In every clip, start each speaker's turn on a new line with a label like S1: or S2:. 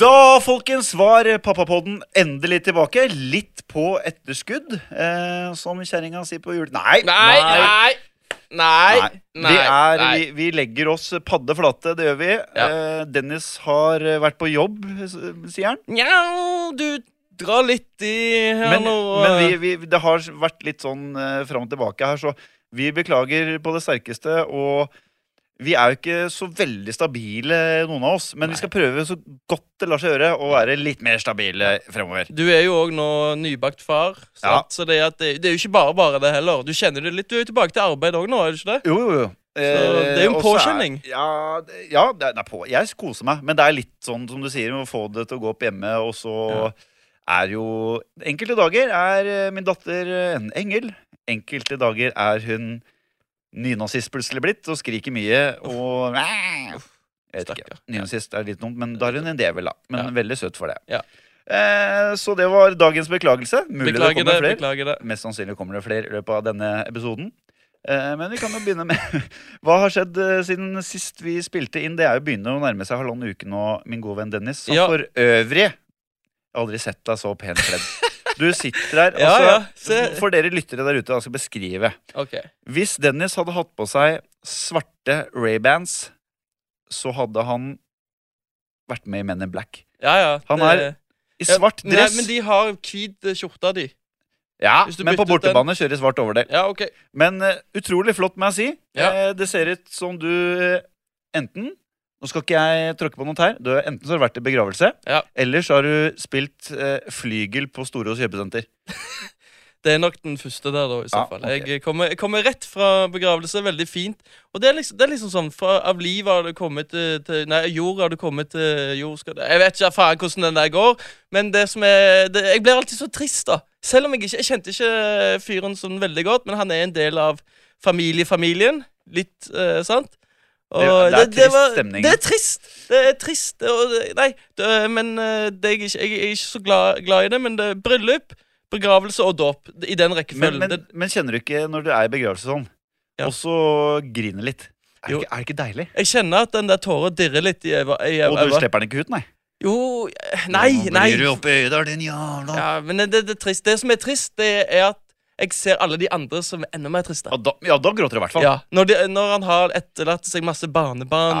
S1: Da, folkens, var pappapodden endelig tilbake. Litt på etterskudd, eh, som kjerringa sier på jul... Nei!
S2: Nei, nei, nei,
S1: nei.
S2: nei,
S1: vi, er,
S2: nei.
S1: Vi, vi legger oss padde flate, det gjør vi.
S2: Ja.
S1: Eh, Dennis har eh, vært på jobb, s- sier han.
S2: Njau, du drar litt i her
S1: Men,
S2: nå. eh.
S1: men vi, vi, det har vært litt sånn eh, fram og tilbake her, så vi beklager på det sterkeste. Og vi er jo ikke så veldig stabile, noen av oss. Men vi skal prøve så godt det lar seg gjøre å være litt mer stabile fremover.
S2: Du er jo òg nå nybakt far, sant? så det, er at det, det er jo ikke bare bare det heller. Du kjenner det litt, du er jo tilbake til arbeid òg nå, er du ikke det?
S1: Jo, jo, jo.
S2: det er jo en
S1: Eh, og så
S2: påkjenning.
S1: ja, det- ja det, er- det er på. Jeg koser meg. Men det er litt sånn som du sier, med å få det til å gå opp hjemme, og så er jo Enkelte dager er eh, min datter eh, en engel. Enkelte dager er hun nynazist plutselig blitt og skriker mye og Jeg vet ikke.
S2: Stakkar.
S1: Nynazist er litt dumt, men da er hun en devel, da. Men
S2: Ja.
S1: veldig søt for det.
S2: Ja.
S1: Eh, så det var dagens beklagelse. Mulig det
S2: Beklager
S1: kommer
S2: det,
S1: flere.
S2: beklager det.
S1: Mest sannsynlig kommer det flere i løpet av denne episoden. Eh, Men vi kan jo begynne med Hva har skjedd eh, siden sist vi spilte inn? Det er jo begynner å nærme seg halvannen uke nå, min gode venn Dennis. Som
S2: Ja.
S1: for øvrig Jeg har aldri sett deg så pent kledd. Du sitter der.
S2: Ja,
S1: Altså,
S2: ja, se.
S1: For dere lyttere der ute, jeg skal beskrive.
S2: Ok.
S1: Hvis Dennis hadde hatt på seg svarte Ray-Bans, så hadde han vært med i Men in Black.
S2: Ja, ja.
S1: Han
S2: det-
S1: er I svart
S2: ja,
S1: dress.
S2: Nei, men de har hvit eh, skjorte, de.
S1: ja,
S2: hvis du
S1: men på
S2: byttet den-
S1: bortebane kjører svart overdel.
S2: Ja, ok.
S1: Men eh, utrolig flott, må jeg si.
S2: Ja.
S1: Eh, det ser ut som du eh, enten Nå skal ikke jeg tråkke på noe tær. Du, enten så har du vært i begravelse,
S2: Ja.
S1: eller så har du spilt eh, flygel på Storås kjøpesenter.
S2: Det er nok den første der, da, i så
S1: Ja,
S2: fall.
S1: ok.
S2: Jeg, kommer, jeg kommer rett fra begravelse. Veldig fint. Og det er liksom, det er liksom sånn fra, Av livet har du kommet til, til Nei, jord har du kommet til jord skal det- Jeg vet ikke faen hvordan den der går, men det som er det, Jeg blir alltid så trist, da. Selv om jeg ikke Jeg kjente ikke fyren sånn veldig godt, men han er en del av familiefamilien. Litt, eh, sant?
S1: Det er- det er trist
S2: var-
S1: stemning.
S2: Det er trist. Det er trist. det- Og, det- nei, det, men eh, det er jeg, ikke, jeg er ikke så glad, glad i det, men det er bryllup, begravelse og dåp. det- I den
S1: Men,
S2: rekkefølgen.
S1: men,
S2: Det-
S1: men kjenner du ikke når du er i begravelse sånn,
S2: Ja.
S1: og så griner litt? Er det,
S2: Jo.
S1: ikke, er det ikke deilig?
S2: jeg kjenner at den der tåra dirrer litt i øva. i
S1: Og du
S2: øva.
S1: slipper den ikke ut, nei?
S2: Jo eh, Nei, nei.
S1: oppe i øyet, din jævla ja.
S2: Ja, men det, det, det, er trist. det som er trist, det er at jeg ser alle de andre som er enda mer triste.
S1: da, ja, da gråter du i hvert fall.
S2: Ja, når, de, når han har etterlatt seg masse barnebarn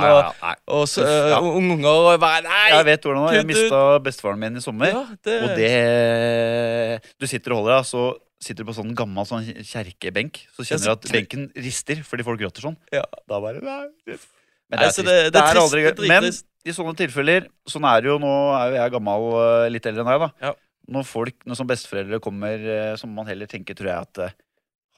S1: Nei, nei, nei.
S2: og, og så,
S1: Uff, ja.
S2: eh, unge unger og bare Nei!
S1: Jeg vet hvordan det var. Jeg
S2: Kutt ut.
S1: mista bestefaren min i sommer.
S2: Ja, det-
S1: Og det Du sitter og holder deg, så sitter du på sånn gammel sånn kjerkebenk. Så kjenner du
S2: Ja, så-
S1: at benken rister fordi folk gråter sånn.
S2: Ja.
S1: Da bare nei, det- Men det
S2: Nei,
S1: er, trist.
S2: så det- det er
S1: Det er
S2: trist,
S1: aldri
S2: det er
S1: gøy. Men
S2: drittrist.
S1: i sånne tilfeller Sånn er det jo nå er jo jeg gammel, eh, litt eldre enn deg, da.
S2: Ja.
S1: Når folk, når som besteforeldre kommer, eh, så må man heller tenke, tror jeg, at eh,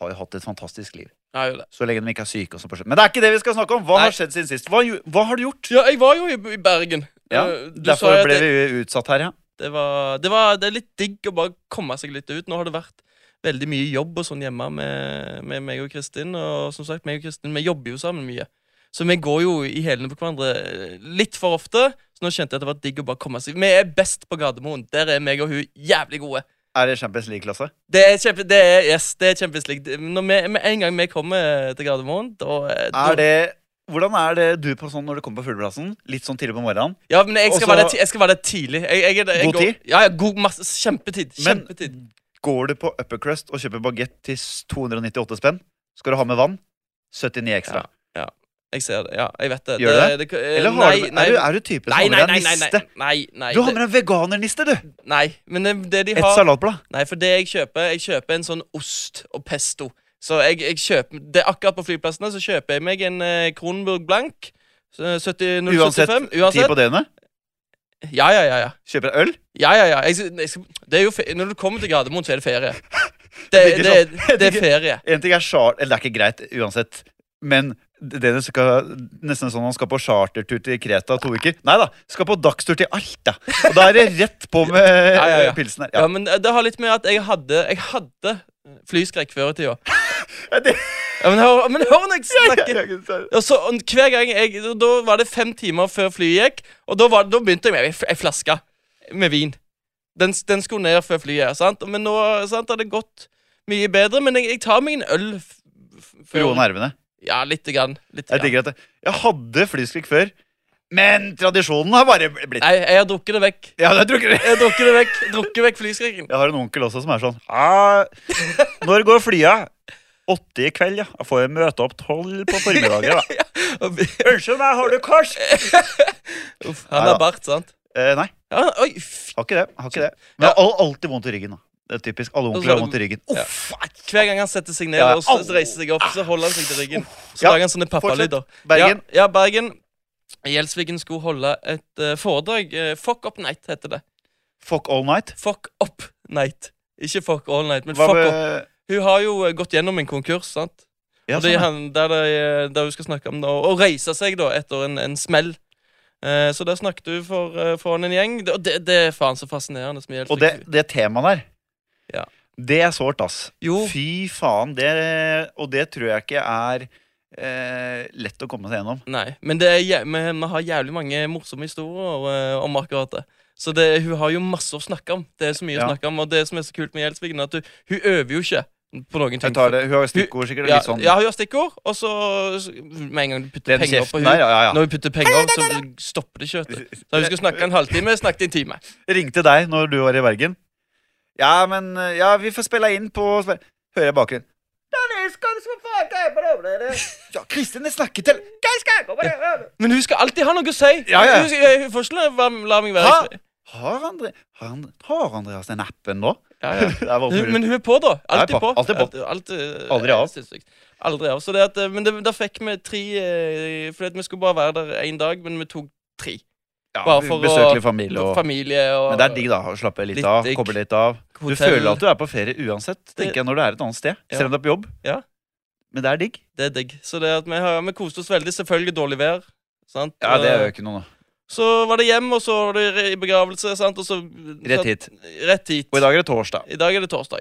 S1: har jo hatt et fantastisk liv.
S2: Ja, jo, det.
S1: Så lenge de ikke er syke. Og sånn på slutten. Men det er ikke det vi skal snakke om. Hva
S2: Nei.
S1: har skjedd siden sist? Hva, jo- hva har du gjort?
S2: Ja, jeg var jo i, i Bergen.
S1: Ja,
S2: Eh, du sa jo
S1: Derfor
S2: at
S1: ble
S2: jeg-
S1: vi utsatt her, ja.
S2: Det, var, det, var, det er litt digg å bare komme seg litt ut. Nå har det vært veldig mye jobb og sånn hjemme med, med meg og Kristin. Og som sagt, meg og Kristin, vi jobber jo sammen mye. Så vi går jo i hælene på hverandre eh, litt for ofte. Så nå kjente jeg at det var digg å bare komme seg Vi er best på Gardermoen. Der er meg og hun jævlig gode.
S1: Er det Champions League-klasse?
S2: Det er kjempe, det er, yes, det er kjempeslikt. Når vi, med en gang vi kommer til Gardermoen, da eh, da-
S1: Er det Hvordan er det du på sånn når du kommer på fugleplassen? Litt sånn tidlig på morgenen?
S2: Ja, men jeg skal,
S1: Også-
S2: være der, ti- jeg skal være der tidlig. Jeg, jeg, er der- jeg
S1: God
S2: går-
S1: tid?
S2: Ja, ja, god, masse, kjempetid.
S1: Men-
S2: kjempetid.
S1: Går du på Upper Crust og kjøper bagett til 298 spenn? Skal du ha med vann? 79 ekstra.
S2: Jeg ser det, ja, jeg vet det.
S1: Gjør du
S2: det, eh,
S1: Eller har
S2: nei,
S1: du,
S2: nei,
S1: er, du, er du typen som
S2: nei,
S1: har
S2: nei,
S1: med
S2: nei,
S1: deg
S2: nei, nei,
S1: niste?
S2: nei, nei,
S1: Du har med deg en veganerniste, du!
S2: det- nei, men det, det de
S1: Et
S2: har
S1: salatblad.
S2: Nei, for det jeg kjøper, jeg kjøper en sånn ost og pesto. Så jeg, jeg kjøper det er Akkurat på flyplassene så kjøper jeg meg en eh, Kronburg blank. så 70, 075,
S1: Uansett, Ti på døgnet.
S2: Ja, ja, ja. ja.
S1: Kjøper deg øl.
S2: Ja, ja, ja. Jeg, skal- jeg, skal- det er jo fe når du kommer til Gardermoen, så er det ferie. Det,
S1: Jeg
S2: det,
S1: digger
S2: det, er ferie.
S1: En ting er char... Eller det er ikke greit uansett. Men Dennis skal nesten sånn han skal på chartertur til Kreta to uker. Nei da, skal på dagstur til Alta. Og da er det rett på med
S2: Ja, ja, ja.
S1: pilsen her.
S2: Ja, men eh, det har litt med at jeg hadde, jeg hadde flyskrekk før i tida.
S1: Ja, det-
S2: Ja, men hør, men hør når jeg snakker!
S1: Ja.
S2: Og så, og hver gang jeg, Da var det fem timer før flyet gikk, og da, var, da begynte jeg med ei f- ei flaske med vin. Den, s- den skulle ned før flyet. sant? Men nå sant, har det gått mye bedre. Men jeg, jeg tar meg en øl f f
S1: Roe nervene.
S2: Ja, lite grann. Lite
S1: Jeg
S2: grann.
S1: digger at det- Jeg hadde flyskrekk før, Men tradisjonen har bare blitt
S2: Nei, jeg har drukket det vekk.
S1: Ja, det tror jeg ikke.
S2: Jeg har drukket det vekk. Drukket vekk flyskrekken.
S1: Jeg har en onkel også som er sånn «Ah, Når går flya? Åtte i kveld, ja. Da får jeg møte opp tolv på formiddagen, da. Unnskyld meg, har du kors?
S2: Uff, han
S1: Neida.
S2: har bart, sant?
S1: Eh, nei,
S2: Ja, oi, f-
S1: har ikke det. Har ikke det. Men jeg har al- alltid vondt i ryggen. da det er typisk. Alle onkler har vondt i ryggen. Uff, æsj.
S2: hver gang han setter seg ned
S1: Ja,
S2: og s-
S1: au.
S2: reiser seg opp, så holder han seg til ryggen. Så
S1: Ja,
S2: lager han sånne pappalyder.
S1: Bergen.
S2: Ja, ja, Bergen. Gjelsviken skulle holde et eh, foredrag. eh, fuck up night heter det.
S1: Fuck all night.
S2: Fuck up night. Ikke fuck all night, men
S1: Hva
S2: fuck
S1: med
S2: up. Hun har jo eh, gått gjennom en konkurs, sant?
S1: ja,
S2: Og det
S1: sånn, ja.
S2: er han, der, de, eh, der hun skal snakke om det, å å reise seg da etter en, en smell. Eh, så der snakket hun for, eh, foran en gjeng. Det, og det, det er faen så fascinerende. Som
S1: Og det, det temaet der,
S2: Ja.
S1: det er sårt, ass.
S2: Jo,
S1: Fy faen. Det, og det tror jeg ikke er eh, lett å komme seg gjennom.
S2: nei. Men det er, jæ- vi, vi har jævlig mange morsomme historier eh, om akkurat det. Så det, hun har jo masse å snakke om. Det er så mye
S1: Ja.
S2: å snakke om Og det som er så kult med Gjelsviken, er at hun, hun øver jo ikke på noen ting.
S1: Jeg tar det, Hun har stikkord, sikkert.
S2: ja,
S1: Litt sånn
S2: ja, hun har stikkord, og så så med en gang du putter
S1: Lene
S2: penger på
S1: kjeften
S2: hun
S1: der. Ja, ja, ja.
S2: Når vi putter penger opp, så stopper det ikke. vet du. Så vi skulle snakke en halvtime, snakket i en time.
S1: Ringte deg når du var i Bergen. Ja, men Ja, vi får spille inn på spe- Hører jeg bakgrunnen. Ja, Kristin, jeg snakker til
S2: Men hun skal alltid ha noe å si.
S1: Ja, ja.
S2: Hun, skal- hun får ikke la- la, la meg være
S1: Ha?
S2: i fred.
S1: Har, Andre, har, Andre, har Andreas den appen nå?
S2: ja, ja.
S1: Det er bare
S2: Hun-
S1: mulig.
S2: Men hun er på, da. Alltid
S1: Ja,
S2: på.
S1: på. Alltid på.
S2: alltid-
S1: Aldri av.
S2: sinnssykt. Aldri av. Så det at, eh, men det, da fikk vi tre eh, Fordi at vi skulle bare være der én dag, men vi tok tre.
S1: ja,
S2: bare for å-
S1: besøkelig familie og
S2: Familie og
S1: Men det er digg, da. Å slappe litt,
S2: Litt
S1: av.
S2: digg.
S1: Koble litt av. Du
S2: hotell.
S1: føler at du er på ferie uansett, tenker jeg, når du er et annet sted.
S2: Ja.
S1: Selv om du er på jobb.
S2: Ja.
S1: Men det er digg.
S2: Det er digg. Så det at vi, har, vi koste oss veldig. Selvfølgelig dårlig vær. Sant?
S1: Ja, det
S2: Eh,
S1: gjør jo ikke noe nå.
S2: Så var det hjem, og så var det re- i begravelse. Sant? Og så,
S1: Rett hit.
S2: så- Rett hit.
S1: Og i dag er det torsdag.
S2: I dag er det torsdag.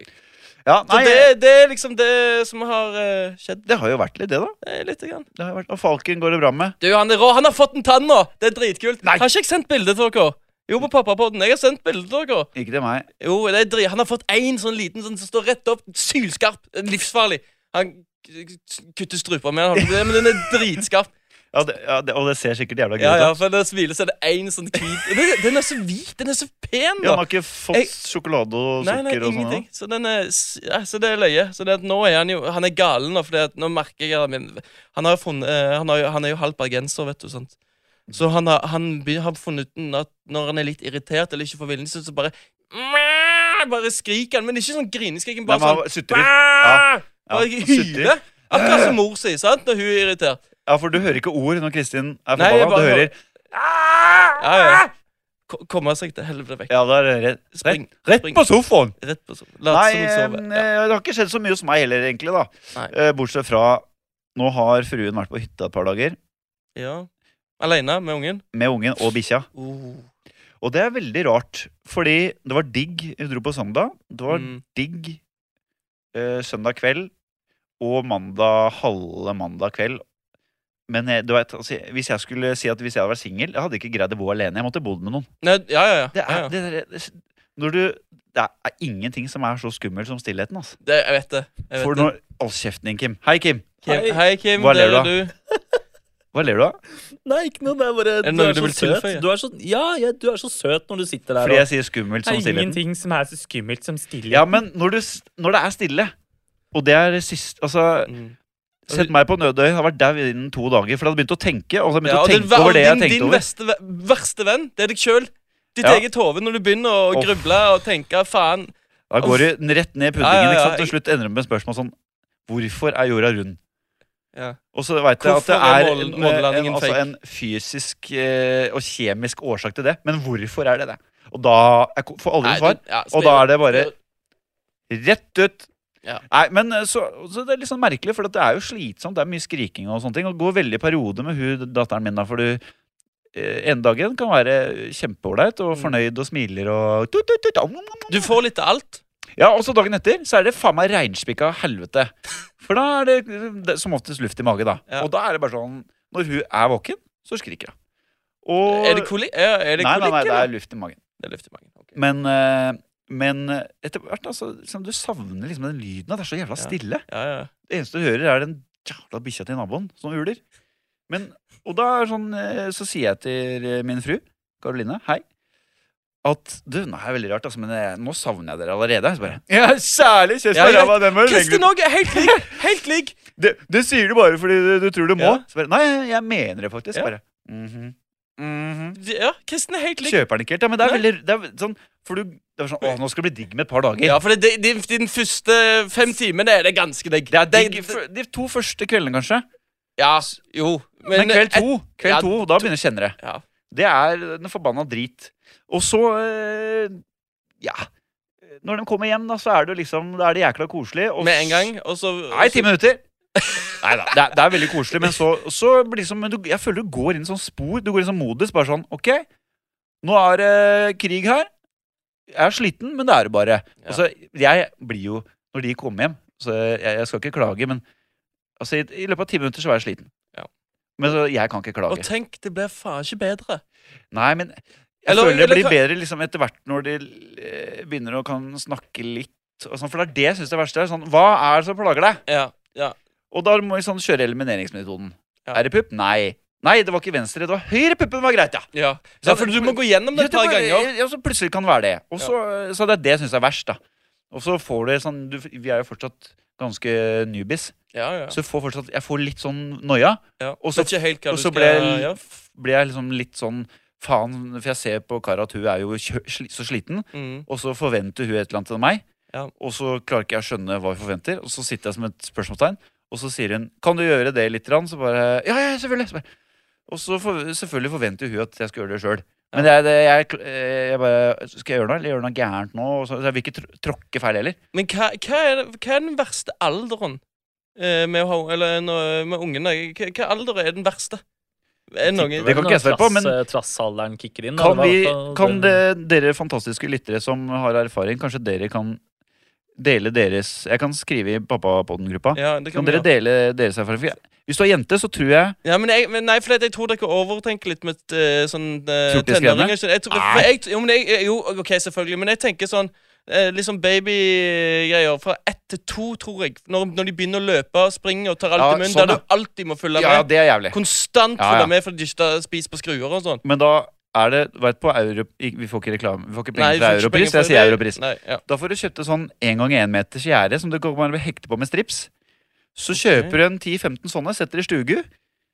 S1: Ja,
S2: Så
S1: nei, det...
S2: det, det er liksom det som har eh, skjedd.
S1: har jo vært litt, det, da.
S2: eh, Lite grann.
S1: Det har jo vært, og Falken går det bra med.
S2: Du, han er rå. Han har fått en tann nå! Det er dritkult.
S1: Nei.
S2: Har ikke jeg sendt bilde til dere? Jo, på pappapodden. Jeg har sendt bilde til dere.
S1: Ikke til meg.
S2: Jo, det er drit... Han har fått én sånn liten sånn som står rett opp. Sylskarp. Livsfarlig. Han k- k- kutter strupa med den, holdt jeg på å si, men den er dritskarp.
S1: Ja, det, ja, det, Og det ser sikkert jævla gøy ut.
S2: Ja,
S1: da.
S2: ja, for når jeg smiler, så er det én sånn hvit Den- Den er så hvit! Den er så pen,
S1: Ja,
S2: da!
S1: han har ikke fått
S2: Jeg-
S1: sjokolade og
S2: Nei,
S1: sukker
S2: nei,
S1: og sånn?
S2: ingenting.
S1: da?
S2: Så, den er, s- ja, så det er løye. Så det at nå er han jo Han er galen nå, for det at nå merker jeg at min- Han, har jo funnet, eh, han, har, jo- han er jo halvt bergenser, vet du. sant? Så han har, han be- har funnet ut at når han er litt irritert eller ikke får viljen sin, så bare "Mæ!" Bare skriker han, men ikke sånn grineskriking. Bare
S1: Nei, men
S2: sånn
S1: han sutrer.
S2: "Mæ!"
S1: Ja,
S2: Bare
S1: han
S2: hyler.
S1: sutrer.
S2: Akkurat som mor sier, sant? når hun er irritert.
S1: Ja, for du hører ikke ord når Kristin er
S2: Nei, jeg
S1: forbanna. Du
S2: bare- sånn-
S1: hører
S2: Ja, ja. Ko- Komme seg til helvete vekk.
S1: Ja, da er det rett,
S2: Spring.
S1: rett, rett
S2: Spring.
S1: på sofaen!
S2: Rett på sånn. Lat
S1: Nei,
S2: som hun sover.
S1: eh,
S2: Ja.
S1: det har ikke skjedd så mye hos meg heller, egentlig. da
S2: Nei.
S1: Eh, Bortsett fra Nå har fruen vært på hytta et par dager
S2: ja. Aleine med ungen?
S1: med ungen og bikkja.
S2: Oh.
S1: Og det er veldig rart, fordi det var digg Hun dro på søndag. Det var
S2: Mm.
S1: digg eh, søndag kveld og mandag, halve mandag kveld. Men jeg, du vet, altså, hvis jeg skulle si at hvis jeg hadde vært singel, jeg hadde ikke greid å bo alene. Jeg måtte bodd med noen.
S2: Nei, ja, ja, ja.
S1: Det
S2: ja,
S1: er,
S2: ja.
S1: det, der- det, når du, det er ingenting som er så skummelt som stillheten. Altså.
S2: Det, jeg vet det. Jeg vet
S1: For
S2: det.
S1: når Hold kjeften din, Kim. Hei, Kim.
S2: Kim, hei, Kim.
S1: Hva
S2: der
S1: ler
S2: er du.
S1: Hva ler du av?
S3: Nei, ikke noe. Det er bare
S2: det
S3: Du
S2: noe
S3: er
S2: du
S3: så
S2: vil
S3: søt.
S2: tilføye?
S3: Du er så, ja, ja, du er så søt når du sitter der
S1: Fordi jeg
S3: og
S1: sier skummelt
S3: Det
S1: som
S3: er
S1: stillheten.
S3: ingenting som er så skummelt som stillhet.
S1: sånn Ja, men når, du, s- når det er stille, og det er det siste Altså,
S2: Mm.
S1: sett meg på nødøy. Jeg har vært dau innen to dager. For jeg hadde begynt å tenke. Og så hadde jeg begynt
S2: Ja,
S1: å
S2: og din,
S1: tenke over det jeg
S2: din,
S1: tenkte
S2: din
S1: over.
S2: verste, ve- verste venn, det er deg sjøl. Ditt
S1: Ja.
S2: eget hode når du begynner å
S1: Uff.
S2: gruble og tenke faen.
S1: Da går du n- rett ned i puddingen.
S2: Ja, ja, ja.
S1: Ikke sant? Til slutt ender det med spørsmål sånn Hvorfor er jorda rund?
S2: Ja.
S1: Og så veit jeg at det
S2: Hvorfor er
S1: er en,
S2: mål- månelandingen
S1: en, altså
S2: fake?
S1: en fysisk eh, og kjemisk årsak til det. Men hvorfor er det det? Og da jeg ko- får aldri
S2: Nei,
S1: noe svar.
S2: du- ja,
S1: Og da er det bare
S2: spiller-
S1: rett ut.
S2: Ja.
S1: Nei, men eh, så, så Det er litt sånn merkelig, for at det er jo slitsomt. Det er mye skriking og sånne ting. Og det går veldig i periode med hun datteren min, da, for du eh, en dagen kan være kjempeålreit og
S2: Mm.
S1: fornøyd og smiler og tut, tut, tut, om, om, om.
S2: Du får litt av alt.
S1: Ja, og så dagen etter så er det faen meg regnspikka helvete. For da er det, det er som oftest luft i mage, da.
S2: Ja.
S1: Og da er det bare sånn Når hun er våken, så skriker hun. Og
S2: Er det kolik? Er, er det
S1: nei, nei,
S2: kolik,
S1: nei, det
S2: eller?
S1: er luft i magen.
S2: Det er luft i magen. ok.
S1: Men, eh, men eh, etter hvert altså, liksom, Du savner liksom den lyden. at Det er så jævla
S2: Ja.
S1: stille.
S2: Ja, ja.
S1: Det eneste du hører, er den jævla bikkja til naboen som uler. Men, og da er det sånn, eh, så sier jeg til eh, min fru, Karoline, hei, at du, nå er det veldig rart, altså, men eh, nå savner jeg dere allerede. Så bare, ja, særlig! Kjøss
S2: Ja,
S1: meg
S2: ja.
S1: ræva, den må du legge
S2: Kristin
S1: ut.
S2: òg er helt lik! Helt lik!
S1: Det, det sier du bare fordi du, du tror du må.
S2: Ja.
S1: Så bare, nei, jeg mener det faktisk.
S2: Ja.
S1: Bare, mhm, mhm.
S2: Ja, Kristin er helt lik.
S1: Kjøper den ikke helt, ja, men det er
S2: Nei.
S1: veldig det er sånn, for du, det er sånn, å, nå skal det bli digg med et par dager.
S2: Ja, for det, det, de, de første fem timene er det ganske digg.
S1: Det er digg
S2: Det-
S1: for- de to første kveldene, kanskje.
S2: Ja, jo.
S1: Men, kveld to, kveld
S2: ja,
S1: to da begynner jeg å kjenne det.
S2: Ja.
S1: Det er den forbanna drit. Og så eh, Ja. Når de kommer hjem, da, så er det jo liksom Da er det jækla koselig. og
S2: Med en
S1: s-
S2: gang, og så
S1: Nei, ti minutter. Nei da. Det, er- det er veldig koselig, men så, så blir det som men du, Jeg føler du går inn i sånn spor. Du går inn sånn modus. Bare sånn OK, nå er det krig her. Jeg er sliten, men det er det bare.
S2: Ja.
S1: Altså, jeg blir jo Når de kommer hjem så jeg, jeg skal ikke klage, men altså, i, i løpet av ti minutter så var jeg sliten.
S2: Ja.
S1: Men så, jeg kan ikke klage.
S2: Og tenk, det blir faen ikke bedre.
S1: Nei, men jeg
S2: Eller-
S1: føler det
S2: eller
S1: blir
S2: kan-
S1: bedre liksom, etter hvert når de eh, begynner å kan snakke litt. Og sånn, for det er det jeg syns er det verste. er Sånn, hva er det som plager deg?
S2: Ja, ja.
S1: Og da må vi sånn kjøre elimineringsmetoden.
S2: Ja.
S1: Er det pupp? Nei. Nei, det var ikke venstre. Det var høyre puppen var greit, ja.
S2: ja. ja for du må gå gjennom det
S1: Ja,
S2: et par
S1: var-
S2: ganger.
S1: Ja, så plutselig kan det være det. Og så, eh, så det er det jeg syns er verst, da. Og så får du sånn du, Vi er jo fortsatt ganske newbies.
S2: Ja, ja.
S1: Så jeg får fortsatt, jeg får litt sånn noia.
S2: ja.
S1: og så-
S2: Vet ikke helt hva
S1: Og
S2: du
S1: så
S2: skal
S1: ble, jeg-
S2: gjøre.
S1: f- ble jeg liksom litt sånn faen, for jeg ser på Kara at hun er jo kjø, sli, så sliten.
S2: Mm.
S1: Og så forventer hun et eller annet av meg,
S2: Ja.
S1: og så klarer ikke jeg å skjønne hva hun forventer. Og så sitter jeg som et spørsmålstegn, og så sier hun 'Kan du gjøre det litt?' grann?» Så bare 'Ja, ja, selvfølgelig'. Så bare, og så for, selvfølgelig forventer hun at jeg skal gjøre det sjøl. Men det er det jeg, kl- eh, jeg bare Skal jeg gjøre noe, eller gjøre noe gærent nå? Og så, så jeg vil ikke tr tråkke feil heller.
S2: Men hva, hva, er, det- hva er den verste alderen eh, med, å ha- eller, når- med ungene? Hva, hva alder er den verste? Er det noen
S1: Det kan ikke jeg svare på, men-
S3: Trassalderen kicker inn. da.
S1: Kan,
S3: Det var altså i
S1: vi,
S3: hvert fall-
S1: kan det, dere fantastiske lyttere som har erfaring, kanskje dere kan dele deres Jeg kan skrive i pappapodden-gruppa.
S2: Ja, det
S1: Kan
S2: vi
S1: dere
S2: gjøre.
S1: dele deres erfaring? For jeg- Hvis du er jente, så tror jeg
S2: Ja, men jeg, men nei, for jeg tror dere overtenker litt med eh, sånn uh,
S1: Tror du det skal
S2: tenåringer. så Jeg tror, for jeg, jo, men jeg, jo, ok, selvfølgelig, men jeg tenker sånn eh, liksom babygreier fra ett til to, tror jeg. Når, når de begynner å løpe, springe og tar alt
S1: Ja,
S2: i munnen.
S1: sånn,
S2: der du alltid må følge
S1: Ja,
S2: med.
S1: det er jævlig.
S2: Konstant
S1: Ja, ja.
S2: følge med, for de ikke spiser på skruer og sånn.
S1: Men da er det Vet på Euro... ik- Vi får ikke reklame. Vi får ikke penger fra
S2: vi får ikke penger
S1: Europris.
S2: for
S1: Jeg sier
S2: det.
S1: Europris.
S2: Nei, ja.
S1: Da får du kjøpte sånn én gang én meters gjerde som du kan bare hekte på med strips. Så
S2: Ok.
S1: kjøper du en 10-15 sånne, setter i stugu.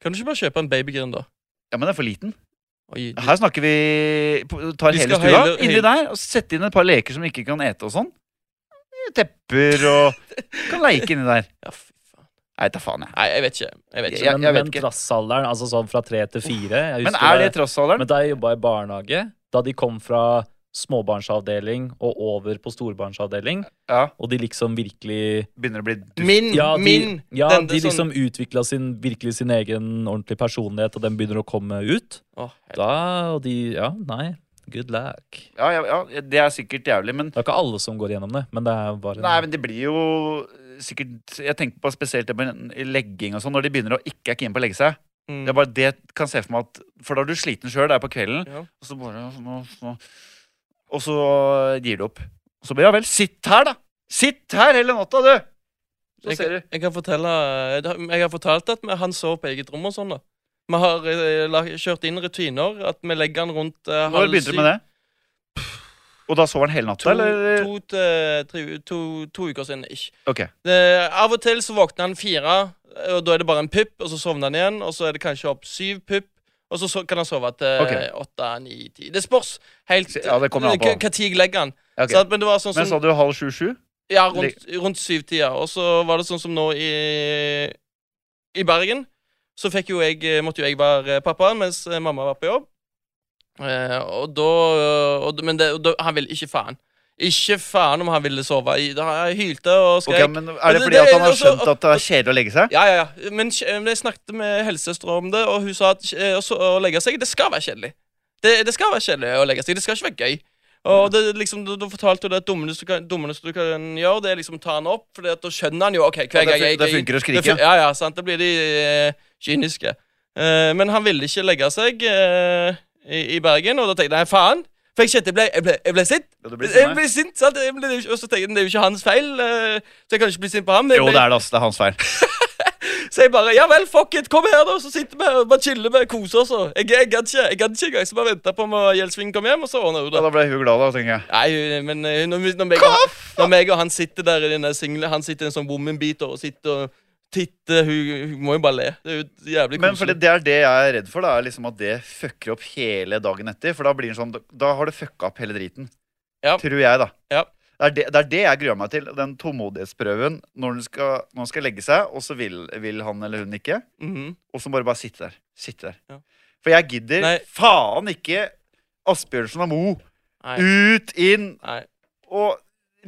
S2: Kan du ikke bare kjøpe en babygrind, da?
S1: Ja, men den er for liten.
S2: Oi, de-
S1: Her snakker vi på- Tar
S2: Vi
S1: hele
S2: skal
S1: stua
S2: hele-
S1: inni
S2: hele-
S1: der og setter inn et par leker som ikke kan ete og sånn. Tepper og Kan leke inni der.
S2: ja, fy faen.
S1: Nei, ta faen, jeg.
S2: Nei, jeg vet ikke. Jeg vet ikke.
S1: jeg-
S3: men,
S1: jeg vet
S3: men
S1: ikke.
S3: trassalderen, altså sånn fra tre til fire jeg
S1: Men
S3: husker
S1: er det trassalderen?
S3: Men da jeg jobba i barnehage, da de kom fra småbarnsavdeling og over på storbarnsavdeling,
S1: Ja,
S3: og de liksom virkelig
S1: begynner å bli dust.
S2: Min,
S3: Ja, de,
S2: min
S3: ja,
S2: den-
S3: de
S2: det sånn-
S3: liksom utvikla sin, virkelig sin egen ordentlige personlighet, og den begynner å komme ut.
S1: liksom-
S2: Åh, hel-
S3: Da, og de Ja, nei. Good luck.
S1: Ja, ja, ja, det er sikkert jævlig, men
S3: Det er ikke alle som går gjennom det, men det er bare
S1: Nei, men det blir jo eh, sikkert Jeg tenker på spesielt det med legging og sånn, når de begynner å ikke er keen på å legge seg.
S2: mm.
S1: Det er bare det jeg kan se for meg at For da er du sliten sjøl, det er på kvelden,
S2: Ja.
S1: og så bare nå, nå. Og så gir du opp. Og så bare Ja vel, sitt her, da! Sitt her hele natta, du! Så
S2: Jeg-
S1: ser du.
S2: Jeg kan fortelle eh, det- Jeg har fortalt at vi- han sover på eget rom og sånn, da. Vi har eh, la- kjørt inn rutiner. At vi legger han rundt eh,
S1: Når begynte du med det? Og da sover han hele natta,
S2: To,
S1: eller?
S2: to, til tre, u- to, to uker siden. Ikke.
S1: Ok.
S2: Eh, av og til så våkner han fire, eh, og da er det bare en pupp, og så sovner han igjen. Og så er det kanskje opp syv pupp, og så, so- kan han sove til
S1: Ok.
S2: åtte, ni, ti. Det spørs helt
S1: Ja, det kommer an på.
S2: hva tid jeg legger han.
S1: Ja, ok.
S2: Så at- men det var sånn som
S1: Men sa du halv sju-sju?
S2: Ja, rundt, rundt syvtida. Og så var det sånn som nå i, i Bergen. Så fikk jo jeg, eh, måtte jo jeg være pappaen mens eh, mamma var på jobb. Eh, og da, og, da- Men det, og da, han ville ikke faen. Ikke faen om han ville sove. I, da jeg hylte og
S1: Ok,
S2: skrek.
S1: men Er det
S2: Men det-
S1: fordi at
S2: det-
S1: han har
S2: altså-
S1: skjønt at det er kjedelig å legge seg?
S2: Ja, ja, ja. Men kje- men jeg snakket med helsesøstera om det, og hun sa at eh, å so- å legge seg, det skal være kjedelig. Det, det skal være kjedelig å legge seg. Det skal ikke være gøy. Og det, liksom, da, da fortalte hun det at dummeste du kan, dummeste du kan gjøre, det er liksom å ta han opp, for da skjønner han jo OK, hver
S1: Ja,
S2: gang
S1: det fun-
S2: jeg
S1: det funker å skrike.
S2: fun- Ja, ja, sant. Da blir de eh, kyniske. Eh, men han ville ikke legge seg eh, i, i Bergen, og da tenkte jeg nei, faen. For jeg kjente jeg ble, jeg ble, jeg ble sint.
S1: Ja, du blir
S2: Jeg
S1: sinna.
S2: ble sint, sant? Jeg ble, og så tenkte jeg det er jo ikke hans feil, eh, så jeg kan ikke bli sint på ham. Jeg
S1: Jo,
S2: ble-
S1: det er det, altså. Det er hans feil.
S2: Så jeg bare Ja vel, fuck it, kom her, da. Så sitter vi her og bare chiller med, koser oss. og- Jeg jeg gadd ikke jeg gadd ikke engang. Så bare venta på at Gjelsvingen kom hjem, og så ordna hun
S1: Ja,
S2: det.
S1: da ble hun glad, da, tenker jeg.
S2: Nei, hun- men eh, når, vi- når, meg, og- når meg og han sitter der i den der single, han sitter i en sånn woman-beater og sitter og titter Hun, hun må jo bare le. Det er jo jævlig
S1: Men for
S2: koselig.
S1: det, det er det jeg er redd for, da, er liksom at det fucker opp hele dagen etter. For da blir det sånn, da har det fucka opp hele driten.
S2: Ja.
S1: Tror jeg, da.
S2: Ja.
S1: Det, er det, det er det jeg gruer meg til. Den tålmodighetsprøven når den skal, når den skal legge seg, og så vil, vil han eller hun ikke.
S2: Mhm.
S1: Og så bare bare sitte der. Sitte der.
S2: Ja.
S1: For jeg gidder
S2: Nei.
S1: faen ikke Asbjørnsen og Moe.
S2: Nei.
S1: Ut, inn
S2: Nei.
S1: og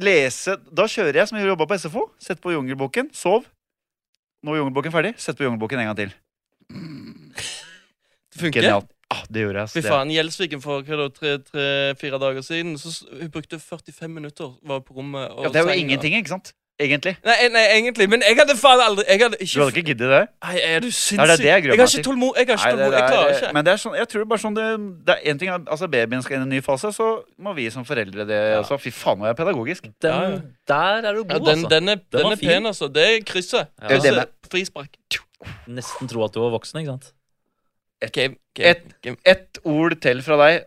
S1: lese. Da kjører jeg som jeg jobba på SFO. Sett på Jungelboken, sov. Nå er Jungelboken ferdig. Sett på Jungelboken en gang til.
S2: Det funker.
S1: Genialt. Ah, det gjorde jeg.
S2: Fy
S1: ass. Det-
S2: faen, Gjelsviken for hva da, tre-fire dager siden så s- Hun brukte 45 minutter var på rommet. Og
S1: Ja, det er jo
S2: sang, da.
S1: ingenting, ikke sant? Egentlig.
S2: Nei, nei, egentlig. Men jeg hadde faen aldri Jeg hadde
S1: Du
S2: ikke,
S1: hadde ikke giddet det?
S2: Nei, er du sinnssyk?
S1: Nei, det er det jeg gruer
S2: jeg har
S1: meg
S2: ikke
S1: til.
S2: tålmodighet. Jeg,
S1: Nei,
S2: har ikke
S1: det-
S2: tålmodighet, jeg klarer
S1: det er-
S2: ikke.
S1: Men det er sånn, jeg tror bare sånn det, det er en ting at- Altså, babyen skal inn i en ny fase, så må vi som foreldre det også. Fy faen, nå er jeg pedagogisk.
S2: Ja, ja.
S3: Den, der er du
S2: ja,
S3: god,
S2: den,
S3: altså.
S2: den er,
S3: Den
S2: den
S3: var
S2: er
S3: fin.
S2: pen, altså. Det er krysset.
S3: Ja.
S1: Det er det
S2: Krysset. Frispark.
S3: Nesten tro at du var voksen, ikke sant?
S2: Game, game,
S1: Et-
S2: game.
S1: Ett ord til fra deg.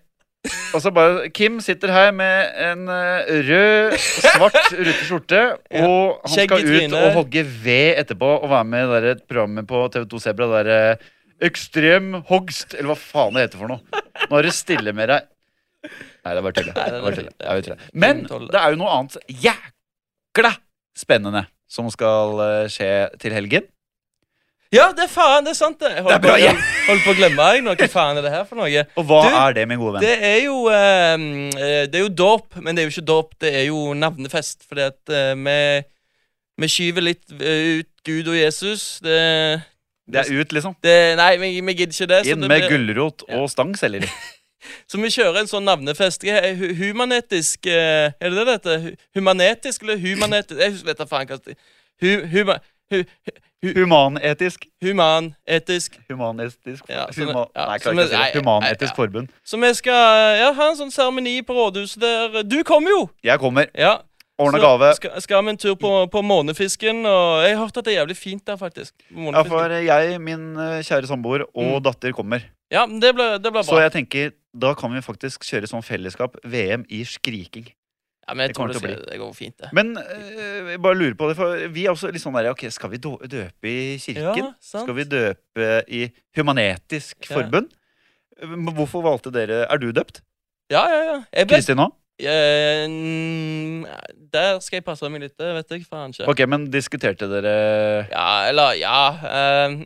S1: Og så bare Kim sitter her med en eh, rød, svart rutete skjorte.
S2: Ja.
S1: Og han
S2: Skjegg
S1: skal
S2: i
S1: ut
S2: trynet.
S1: og hogge ved etterpå og være med i det der programmet på TV2 Sebra. Det derre Ekstrem hogst, eller hva faen det heter for noe. Nå er det stille med deg. Nei, det er bare tull. jeg. Det er bare tull, jeg. Det er bare tull, jeg. Men det er jo noe annet jækla spennende som skal eh, skje til helgen.
S2: Ja, det er faen, det er sant, det.
S1: Det
S2: Jeg holdt
S1: er bra,
S2: på,
S1: ja.
S2: holdt på å glemme jeg, nå. Hva faen er det her for noe?
S1: Og hva
S2: Du,
S1: er det, min gode venn?
S2: Det er jo eh, eh, Det er jo dåp, men det er jo ikke dåp, det er jo navnefest. Fordi at eh, vi, vi skyver litt eh, ut Gud og Jesus. Det,
S1: Det er ut, liksom.
S2: det, nei, vi, vi gidder ikke det. så
S1: Inn
S2: det
S1: med
S2: blir-
S1: gulrot og stang selleri.
S2: Så vi kjører en sånn navnefest. eh, hu- Humanetisk eh, Er det det det heter? Hu- Humanetisk eller humanetisk? Jeg vet da faen hva det hu, huma, hu,
S1: Humanetisk.
S2: Humanetisk.
S1: Humanetisk
S2: Ja, sånn-
S1: huma,
S2: ja,
S1: Nei, jeg klarer
S2: sånn-
S1: ikke å si
S2: nei,
S1: det. Humanetisk
S2: nei, ja.
S1: forbund.
S2: Så vi skal ja, ha en sånn seremoni på rådhuset der Du kommer jo!
S1: Jeg kommer.
S2: Ja.
S1: Ordne
S2: Så
S1: gave.
S2: Skal, skal vi en tur på, på Månefisken, og jeg har hørt at det er jævlig fint der, faktisk.
S1: Ja,
S2: Månefisken.
S1: for jeg, min eh, kjære samboer og datter kommer.
S2: Mm. ja men det blir det blir
S1: Så
S2: bra.
S1: jeg tenker, da kan vi faktisk kjøre sånn fellesskap. VM i skriking.
S2: ja, men jeg
S1: det
S2: tror
S1: kommer
S2: det,
S1: til å
S2: skal, det går fint, det.
S1: Men eh, jeg bare lurer på det, for vi er også litt sånn der Ok, skal vi dø- døpe i kirken?
S2: Ja, sant.
S1: skal vi døpe i humanetisk
S2: Ja.
S1: forbund? Eh, men Hvorfor valgte dere Er du døpt?
S2: Ja, ja, ja. Jeg ble,
S1: Kristin òg?
S2: Eh, mm, der skal jeg passe meg litt, det vet jeg faen ikke.
S1: Ok, men diskuterte dere
S2: Ja, eller ja eh,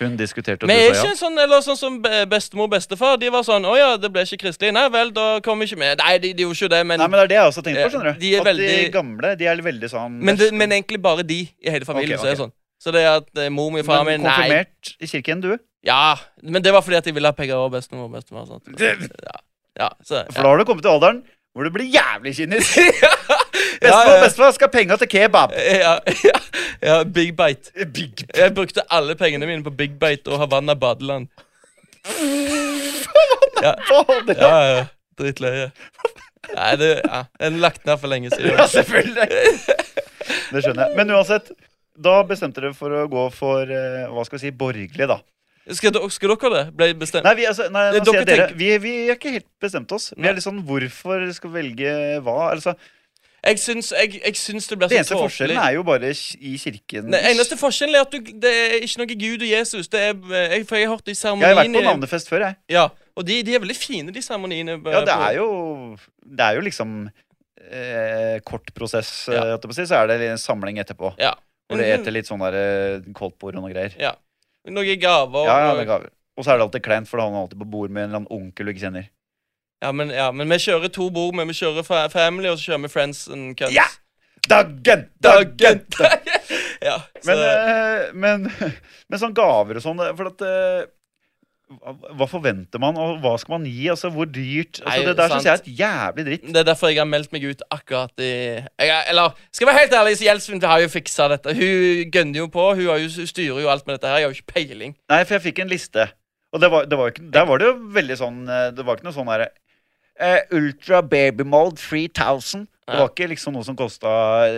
S1: Hun diskuterte, og
S2: Men er
S1: du sa
S2: ikke
S1: ja?
S2: en sånn Eller sånn som be- bestemor og bestefar. De var sånn 'Å ja, det ble ikke kristelig.' Nei vel, da kom ikke vi. Nei, de, de gjorde ikke det, men
S1: Nei, men det er det jeg også tenkte på,
S2: Ja,
S1: skjønner du.
S2: de er
S1: At de
S2: veldig-
S1: gamle, de er veldig sånn
S2: men, det, men egentlig bare de i hele familien.
S1: Ok,
S2: Så er det sånn Så det at eh, mor mi og far
S1: Men
S2: min Nei.
S1: konfirmert i kirken, du?
S2: Ja, men det var fordi at jeg ville ha penger over bestemor og bestemor. Sant?
S1: Det-
S2: Ja, ja, så,
S1: For
S2: ja.
S1: da har du kommet til alderen hvor du blir jævlig kynisk. Bestemor
S2: Ja,
S1: og
S2: ja.
S1: bestefar skal ha penga til kebab.
S2: Ja, ja, ja, Big Bite.
S1: Big
S2: Jeg brukte alle pengene mine på Big Bite og Havanna badeland.
S1: fader.
S2: Ja, ja, ja. Drittløye. Nei, det ja, Den er lagt ned for lenge siden.
S1: Ja, selvfølgelig. Det skjønner jeg. Men uansett, da bestemte dere for å gå for eh, hva skal vi si, borgerlig, da.
S2: Skal, dere- skal dere det? Ble bestemt?
S1: Nei, vi, altså, nei, nå
S2: Dere
S1: sier jeg dere,
S2: tenker-
S1: vi, vi har ikke helt bestemt oss. Vi
S2: Nei.
S1: er litt sånn hvorfor skal vi velge hva? Altså,
S2: Jeg syns, jeg, jeg syns det blir
S1: det
S2: så
S1: eneste forskjellen er jo bare i kirken.
S2: Den eneste forskjellen er at du, det er ikke noe Gud og Jesus. Det er, jeg, for jeg har hørt de
S1: Jeg har vært
S2: seremoniene
S1: på navnefest før, jeg.
S2: Ja, Og de, de er veldig fine, de seremoniene. eh,
S1: Ja, det er jo, det er jo liksom eh, kort prosess, eh,
S2: Ja.
S1: holdt jeg
S2: Mhm.
S1: på å si, så er det en samling etterpå.
S2: Ja.
S1: Hvor du eter litt sånn der eh, koldtbord og noe greier.
S2: Ja. Noen Mm, gaver.
S1: Ja, ja,
S2: og-
S1: det er gaver. Og så er det alltid kleint, for da havner han alltid på bord med en eller annen onkel du ikke kjenner.
S2: ja, men, ja, men vi kjører to bord. Men vi kjører fa family, og så kjører vi friends and cuts.
S1: Ja! Dagen!
S2: Dagen! ja, så,
S1: Men, eh, men, men sånn gaver og sånn For at eh, hva- Hva forventer man, og hva skal man gi? Altså, Hvor dyrt? Altså,
S2: Nei,
S1: det der syns jeg
S2: sant.
S1: er et jævlig dritt.
S2: Det er derfor jeg har meldt meg ut akkurat i jeg, er- Eller skal jeg være helt ærlig, så Gjelsvin har jo fiksa dette. Hun gønner jo på. Hun, har jo, hun styrer jo alt med dette her. Jeg har jo ikke peiling.
S1: Nei, for jeg fikk en liste. Og det var, det var jo ikke, der var det jo veldig sånn eh, Det var ikke noe sånn herre eh, Ultra baby mold 3000. Det
S2: Ja.
S1: var ikke liksom noe som kosta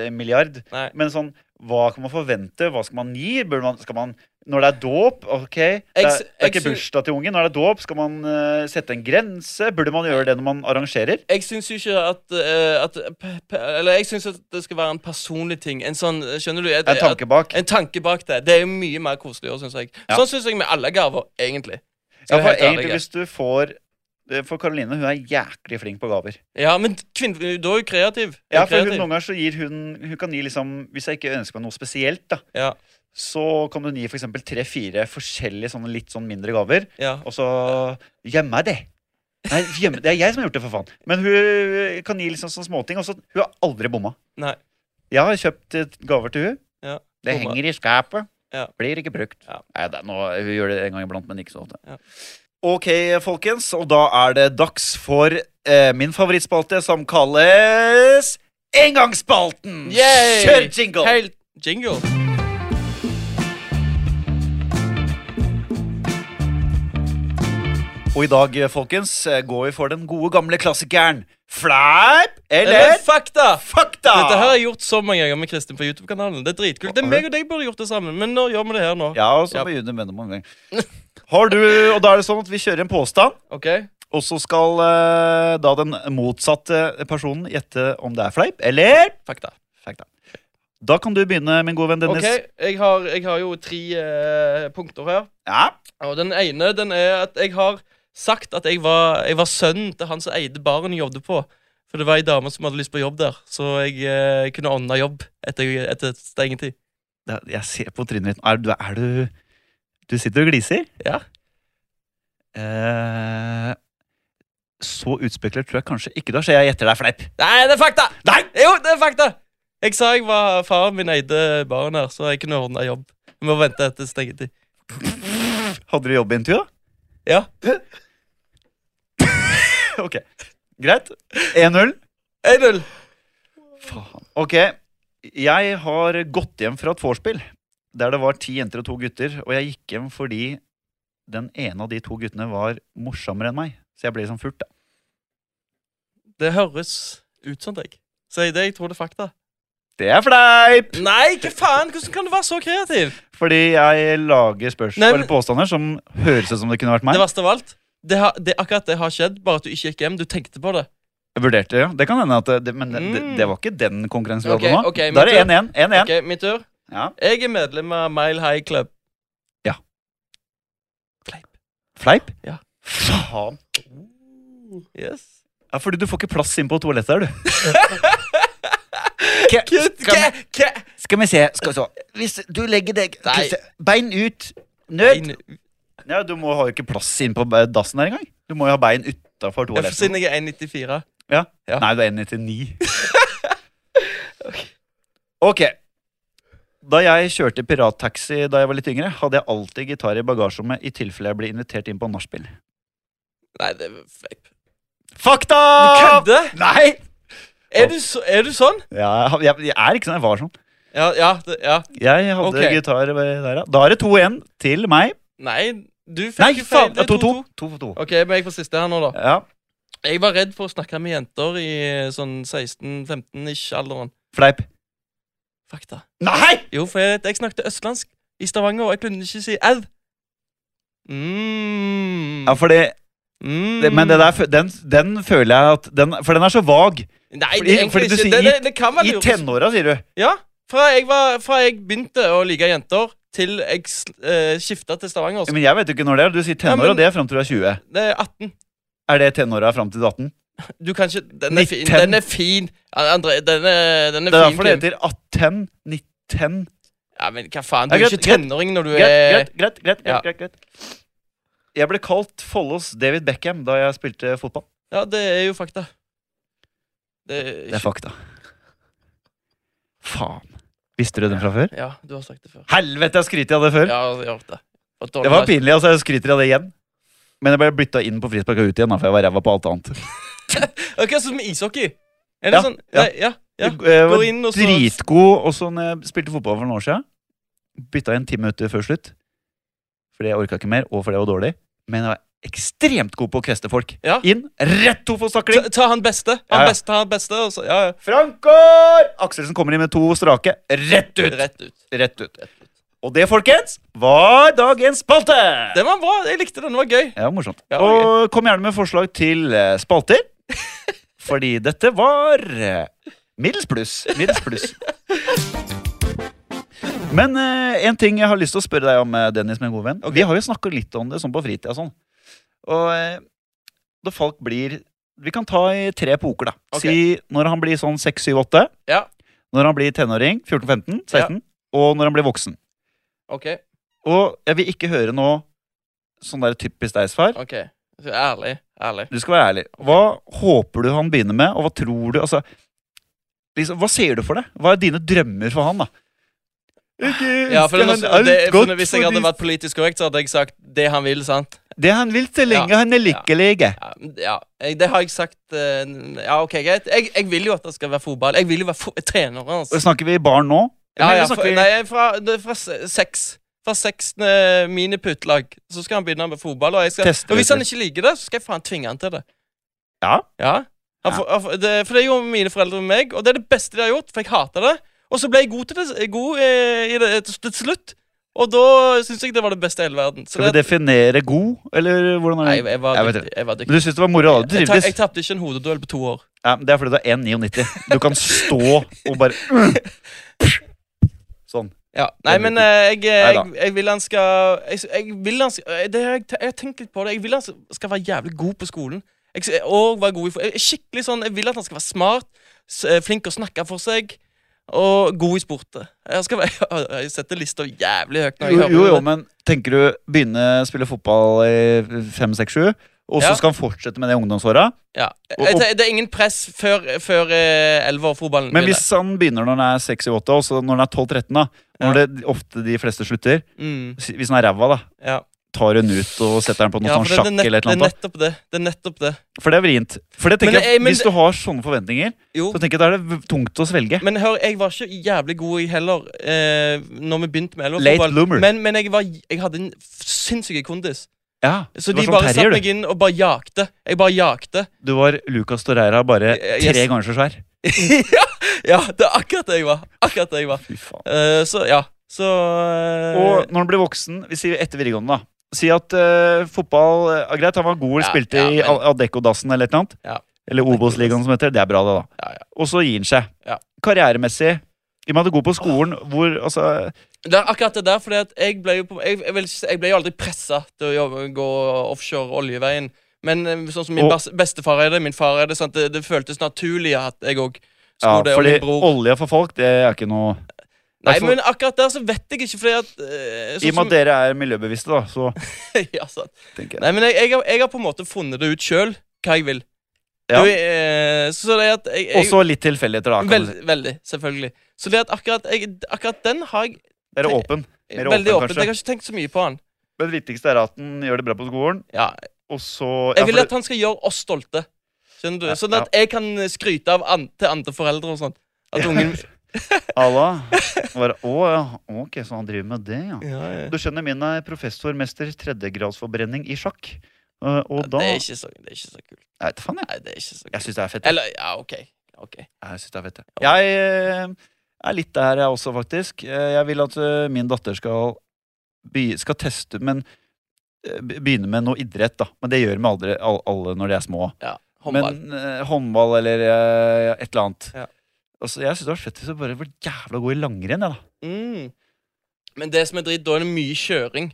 S1: en milliard.
S2: Nei.
S1: Men sånn Hva kan man forvente? Hva skal man gi? Bør man, skal man, når det er dåp Ok, det er,
S2: Ex-
S1: det er ikke
S2: ex-
S1: bursdag til ungen. Når det er dåp, skal man eh, sette en grense? Burde man gjøre det når man arrangerer?
S2: Jeg syns jo ikke at, eh, at p- p- Eller jeg syns at det skal være en personlig ting. En sånn, skjønner du? At-
S1: En tanke bak.
S2: At, en tanke bak det. Det er jo mye mer koselig òg, syns jeg.
S1: Ja.
S2: Sånn syns jeg med alle gaver, egentlig.
S1: Ja,
S2: Skal jeg
S1: for
S2: være helt
S1: egentlig
S2: ærlig.
S1: hvis du får eh, For Karoline, hun er jæklig flink på gaver.
S2: Ja, men kvinn, da er hun kreativ. Er
S1: Ja,
S2: hun
S1: for hun,
S2: kreativ?
S1: Noen ganger så gir hun Hun kan gi liksom Hvis jeg ikke ønsker meg noe spesielt, da,
S2: Ja,
S1: så kan hun gi f.eks. tre-fire forskjellige sånne litt sånn mindre gaver.
S2: ja.
S1: Og så gjemmer jeg det. Nei, gjemme, det er jeg som har gjort det, for faen. Men hun kan gi liksom sånne småting. Og så hun har aldri bomma.
S2: Nei.
S1: Jeg har kjøpt eh, gaver til hun
S2: Ja,
S1: Det
S2: bomma.
S1: henger i skapet.
S2: Ja.
S1: Blir ikke brukt.
S2: Ja.
S1: Nei, det er noe, hun gjør det en gang iblant, men ikke så ofte.
S2: Ja.
S1: Ok, folkens, og da er det dags for eh, min favorittspalte, som kalles Engangsspalten!
S2: Yay!
S1: Kjør jingle!
S2: Helt jingle.
S1: Og i dag, eh, folkens, eh, går vi for den gode gamle klassikeren Fleip eller
S2: Eller fakta!
S1: fakta!
S2: Dette her har jeg gjort så mange ganger med Kristin på YouTube-kanalen. Det er dritkult. Det er meg og deg burde gjort det sammen, men nå gjør vi det her nå.
S1: Ja, og så
S2: Ja.
S1: må Juni vende mange ganger. Har du, og da er det sånn at vi kjører en påstand,
S2: Ok?
S1: og så skal eh, da den motsatte personen gjette om det er fleip eller
S2: Fakta.
S1: fakta. Da kan du begynne, min gode venn Dennis.
S2: Ok, jeg har, jeg har jo tre eh, punkter her.
S1: Ja,
S2: Og den ene den er at jeg har sagt at jeg var, jeg var sønnen til han som eide baren jeg jobbet på. For det var ei dame som hadde lyst på jobb der, så jeg eh, kunne ordne jobb etter, etter stengetid.
S1: det, jeg ser på trynet ditt. Er, du- er du Du sitter og gliser?
S2: Ja.
S1: Eh, så utspekulert tror jeg kanskje ikke du er, så jeg gjetter deg fleip.
S2: Nei, det er fakta!
S1: Nei!
S2: Jo, det er fakta! Jeg sa jeg var faren min eide baren her, så jeg kunne ordne jobb. Vi må vente etter stengetid.
S1: Hadde du jobbintervju, da?
S2: Ja.
S1: Ok. Greit. 1-0.
S2: 1-0.
S1: Faen. Ok, jeg har gått hjem fra et vorspiel der det var ti jenter og to gutter, og jeg gikk hjem fordi den ene av de to guttene var morsommere enn meg, så jeg ble liksom furt, da.
S2: Det høres ut som deg. Si det, jeg tror det er fakta.
S1: Det er fleip!
S2: Nei, hva faen? Hvordan kan du være så kreativ?
S1: Fordi jeg lager spørsmål
S2: Nei, men-
S1: eller påstander som høres ut som det kunne vært meg.
S2: Det verste av alt, det har, det, akkurat det har skjedd, bare at du ikke gikk hjem. Du tenkte på det.
S1: Jeg vurderte, ja. Det kan hende at det, Men det, det,
S2: Mm.
S1: det var ikke den konkurransen vi hadde
S2: Ok,
S1: nå.
S2: ok,
S1: da er det
S2: men
S1: 1-1. 1-1.
S2: Ok, min tur.
S1: Ja.
S2: Jeg er medlem av Mile High Club.
S1: Fleip?
S2: Ja.
S1: Faen.
S2: Yes.
S1: Ja, fordi du får ikke plass inn på toalettet her, du.
S2: Hva-
S1: Skal-
S2: hva- hva-
S1: Skal vi se. Skal vi se. Hvis du legger deg
S2: Nei.
S1: Bein ut. Nød. Ja, du må ha jo ikke plass inn på be- dassen der engang. Du må jo ha bein utafor
S2: Ja, for Siden
S1: toalettet.
S2: jeg er 1,94.
S1: Ja.
S2: Ja.
S1: Nei, du er 1,99. ok. Da jeg kjørte pirattaxi da jeg var litt yngre, hadde jeg alltid gitar i bagasjerommet i tilfelle jeg ble invitert inn på nachspiel.
S2: Nei, det er Ah! fleip.
S1: Fakta!
S2: Du kødder?
S1: Nei!
S2: Er, du så- er du sånn?
S1: Ja, jeg, jeg, jeg er ikke sånn. Jeg var sånn.
S2: Ja, ja, det, ja.
S1: Jeg hadde
S2: Ok.
S1: gitar eh, der, ja. Da er det 2-1 til meg.
S2: Nei, du fikk
S1: Nei,
S2: jo feil.
S1: faen!
S2: Det er
S1: 2-2.
S2: 2-2.
S1: 2-2.
S2: OK, men jeg får siste her nå, da.
S1: Ja.
S2: Jeg var redd for å snakke med jenter i sånn 16-15-ish-alderen.
S1: Fleip.
S2: Fakta.
S1: Nei!
S2: Jo, for jeg, jeg snakket østlandsk i Stavanger, og jeg kunne ikke si au. Mm.
S1: Ja, fordi,
S2: mm.
S1: det, men det der, fø- den, den føler jeg at den, For den er så vag.
S2: Nei,
S1: fordi-
S2: det, er egentlig
S1: fordi du
S2: ikke.
S1: sier
S2: det,
S1: i-
S2: det, det kan være
S1: I
S2: lurt.
S1: tenåra, sier du.
S2: Ja. Fra jeg, var, fra jeg begynte å like jenter, til jeg uh, skifta til Stavanger.
S1: Men jeg vet jo ikke når det er. Du sier
S2: Ja,
S1: tenåra,
S2: men-
S1: det er fram til du er 20.
S2: Det er 18.
S1: Er det tenåra fram til du er 18?
S2: Du kan ikke Den er fin.
S1: 19.
S2: Den er fin, André. Den er, den er
S1: Det er
S2: fin.
S1: derfor det
S2: Kim.
S1: heter 18, 19
S2: Ja, men hva faen? Du
S1: Ja,
S2: er jo
S1: greit,
S2: ikke
S1: greit.
S2: tenåring når du er
S1: Greit, greit, greit. greit,
S2: Ja.
S1: greit, greit. Jeg ble kalt Follos David Beckham da jeg spilte fotball.
S2: Ja, det er jo fakta. Det er
S1: Det er
S2: ikke
S1: fakta. Faen. Visste du den fra før?
S2: Ja, du har sagt det før.
S1: Helvete, jeg skryter av det før!
S2: Ja, jeg har hørt det. Og
S1: Det var pinlig, altså. Jeg skryter av det igjen. Men jeg ble bytta inn på frispark og ut igjen, da, for jeg var ræva på alt annet.
S2: Ok, sånn som ishockey. Er det
S1: Ja,
S2: sånn?
S1: ja.
S2: Nei, ja, ja.
S1: Jeg, jeg var
S2: Går inn og så
S1: dritgod, og så når jeg spilte fotball for noen år siden, bytta jeg inn ti minutter før slutt. Fordi jeg orka ikke mer, og fordi jeg var dårlig. Men jeg var ekstremt god på å kveste folk.
S2: Ja.
S1: Inn, rett to for
S2: Ta,
S1: stakling.
S2: ta han beste.
S1: Ja,
S2: Han
S1: ja.
S2: beste, han beste. Og så, ja, ja.
S1: Frankår! Akselsen kommer inn med to strake. Rett ut!
S2: Rett ut.
S1: Rett ut. Og det, folkens, var dagens spalte!
S2: Den var bra. Jeg likte den. Den var gøy.
S1: Ja, morsomt.
S2: Ja,
S1: og kom gjerne med forslag til eh, spalter. Fordi dette var eh, middels pluss. Middels pluss. Men eh, en ting jeg har lyst til å spørre deg om, eh, Dennis, min gode venn. Vi har jo snakka litt om det sånn på fritida. og Sånn. Og eh, når folk blir Vi kan ta i tre poker, da.
S2: Ok.
S1: Si når han blir sånn 6-7-8.
S2: Ja.
S1: Når han blir tenåring, 14-15, 16. Og når han blir voksen.
S2: OK.
S1: Og jeg vil ikke høre noe sånn der typisk deg, far.
S2: ok Så Ærlig. Ærlig.
S1: Du skal være ærlig. Hva håper du han begynner med, og hva tror du? Altså, liksom, hva ser du for deg? Hva er dine drømmer for han, da?
S2: Ja, for den også, det, for Hvis jeg hadde vært politisk korrekt, så hadde jeg sagt det han vil. sant?
S1: det han vil så lenge
S2: Ja,
S1: han er lykkelig.
S2: Ja, ja. Jeg, Det har jeg sagt eh, n- Ja, OK, greit. Jeg, jeg vil jo at det skal være fotball. Jeg vil jo være fo trener. Altså.
S1: Og Snakker vi barn nå?
S2: Ja,
S1: Eller
S2: ja,
S1: snakker
S2: fra,
S1: vi-
S2: nei, fra, det er fra se- seks. Fra seksende miniputtlag. Så skal han begynne med fotball. Og, jeg skal,
S1: Teste
S2: og hvis
S1: ut
S2: han ikke liker det, så skal jeg faen tvinge han til det.
S1: Ja.
S2: Ja.
S1: Ja.
S2: Han får- han får- det, for det gjorde mine foreldre med meg, og det er det beste de har gjort, for jeg hater det. Og så ble jeg god til det, god, eh, i det til til slutt, og da syns jeg det var det beste i hele verden. Så
S1: Skal vi
S2: det,
S1: definere god, eller hvordan
S2: nei,
S1: er
S2: jeg,
S1: det?
S2: jeg var
S1: Jeg vet
S2: dyktig. Jeg var dyktig.
S1: Men du syns det var moro? da, Du
S2: Jeg, ta- jeg
S1: trivdes?
S2: tapte ikke en hodeduell på to år.
S1: Ja, men det er fordi du er 1,99. Du kan stå og bare Sånn.
S2: Ja,
S1: Det
S2: Nei,
S1: er
S2: men eh, jeg, jeg,
S1: Neida.
S2: jeg vil han skal Jeg, jeg vil han skal eh, det, har jeg, te- jeg har tenkt litt på det. Jeg vil han skal være jævlig god på skolen. Jeg, s- og være god i, fo- jeg, skikkelig sånn, jeg vil at han skal være smart, s- eh, flink å snakke for seg og god i sport. Jeg, skal, være- jeg setter lista jævlig høyt. når jeg
S1: Jo,
S2: hører
S1: jo,
S2: på
S1: jo,
S2: det.
S1: men tenker du begynne å spille fotball i fem, seks, sju, og så
S2: Ja. Mm.
S1: skal han fortsette med det i ungdomsåra?
S2: ja.
S1: og-
S2: jeg, det, det er ingen press før, før eh, elverfotballen.
S1: Men
S2: begynner.
S1: hvis han begynner når han er 6-8, og så når han er 12-13, da Når det ofte de fleste slutter
S2: mm,
S1: si- Hvis han er ræva, da,
S2: ja.
S1: tar hun ut og setter den på noe
S2: ja,
S1: sånn
S2: for det,
S1: sjakk
S2: det, er nett,
S1: eller et eller
S2: det er
S1: annet?
S2: nettopp det. Det er nettopp det.
S1: da? For det er vrient. For det tenker
S2: Men, eh,
S1: jeg,
S2: men
S1: Hvis
S2: det-
S1: du har sånne forventninger,
S2: Jo.
S1: så tenker jeg da er det v- tungt å svelge.
S2: Men hør, jeg var ikke jævlig god i heller eh, Når vi begynte med
S1: Late bloomer.
S2: elverfotball. Men, men jeg, var, jeg hadde en sinnssyk kondis.
S1: Ja,
S2: Så
S1: du
S2: de
S1: var sånn
S2: bare satte
S1: terrier,
S2: meg
S1: du.
S2: inn og bare jakte. Jeg bare jakte.
S1: Du var Lucas Torreira bare
S2: Eh,
S1: tre
S2: yes.
S1: ganger så svær.
S2: ja, ja, det er akkurat det jeg var. Akkurat det jeg var.
S1: Fy faen.
S2: Eh, så ja. Så eh,
S1: Og når han blir voksen, vi sier etter videregående, da. Si at eh, fotball eh, er greit, han var god,
S2: Ja,
S1: spilte
S2: ja,
S1: i
S2: men-
S1: Al- Adeccadassen eller et eller annet.
S2: Ja.
S1: Eller Obos-ligaen, som heter. Det er bra, det, da.
S2: Ja, ja.
S1: Og så gir han seg.
S2: Ja.
S1: Karrieremessig, i og med at du er god på skolen, hvor altså
S2: Det er akkurat det der, fordi at jeg ble jo, på, jeg, jeg vil, ikke si- jeg ble jo aldri pressa til å jobbe, gå offshore oljeveien. Men eh, sånn som min
S1: Og-
S2: bas- bestefar er det, min far er det, sant? Det, det føltes naturlig at jeg òg
S1: ja,
S2: skulle det. Og
S1: Fordi
S2: min bror.
S1: olja for folk, det er ikke noe
S2: Nei,
S1: Hvertfall-
S2: men akkurat der så vet jeg ikke, fordi at eh,
S1: Altså- I og med at dere er miljøbevisste, da, så
S2: som, ja, sant.
S1: tenker jeg
S2: Nei, men jeg, jeg, har, jeg har på en måte funnet det ut sjøl, hva jeg vil.
S1: Ja.
S2: Du, eh, så det er at jeg, jeg
S1: Også litt tilfeldigheter, da. Kan
S2: Vel,
S1: du si.
S2: Veldig, selvfølgelig. Så det at akkurat, jeg, akkurat den har jeg
S1: Dere er åpen. Mer åpen,
S2: veldig åpen.
S1: kanskje.
S2: Jeg har ikke tenkt så mye på han.
S1: Men det viktigste er at han gjør det bra på skolen,
S2: Ja.
S1: og så
S2: Jeg vil
S1: for-
S2: at han skal gjøre oss stolte. Skjønner du?
S1: Ja,
S2: Sånn at jeg kan skryte av an til andre foreldre og sånn. At ungen
S1: Halla. Bare, Å ja, ok, så han driver med det, ja.
S2: ja, ja.
S1: Du skjønner, min er professormester tredjegradsforbrenning i sjakk. Eh, og da
S2: Det er ikke så, det er ikke så kult.
S1: Jeg vet faen, jeg.
S2: Nei, det er ikke så kult.
S1: Jeg syns det er fett. Jeg,
S2: Eller, ja, OK. ok
S1: jeg, synes det er, fett, jeg. jeg eh, er litt der, jeg også, faktisk. Eh, Jeg vil at eh, min datter skal, be- skal teste, men eh, be- begynne med noe idrett, da. Men det gjør vi aldri, all- alle når de er små.
S2: Ja, Håndball.
S1: Men eh, håndball eller eh, et eller annet.
S2: Ja.
S1: Altså, jeg syns det var fett hvis jeg bare var jævla god i langrenn, jeg, da.
S2: mm. Men det som er dritt, da er det mye kjøring.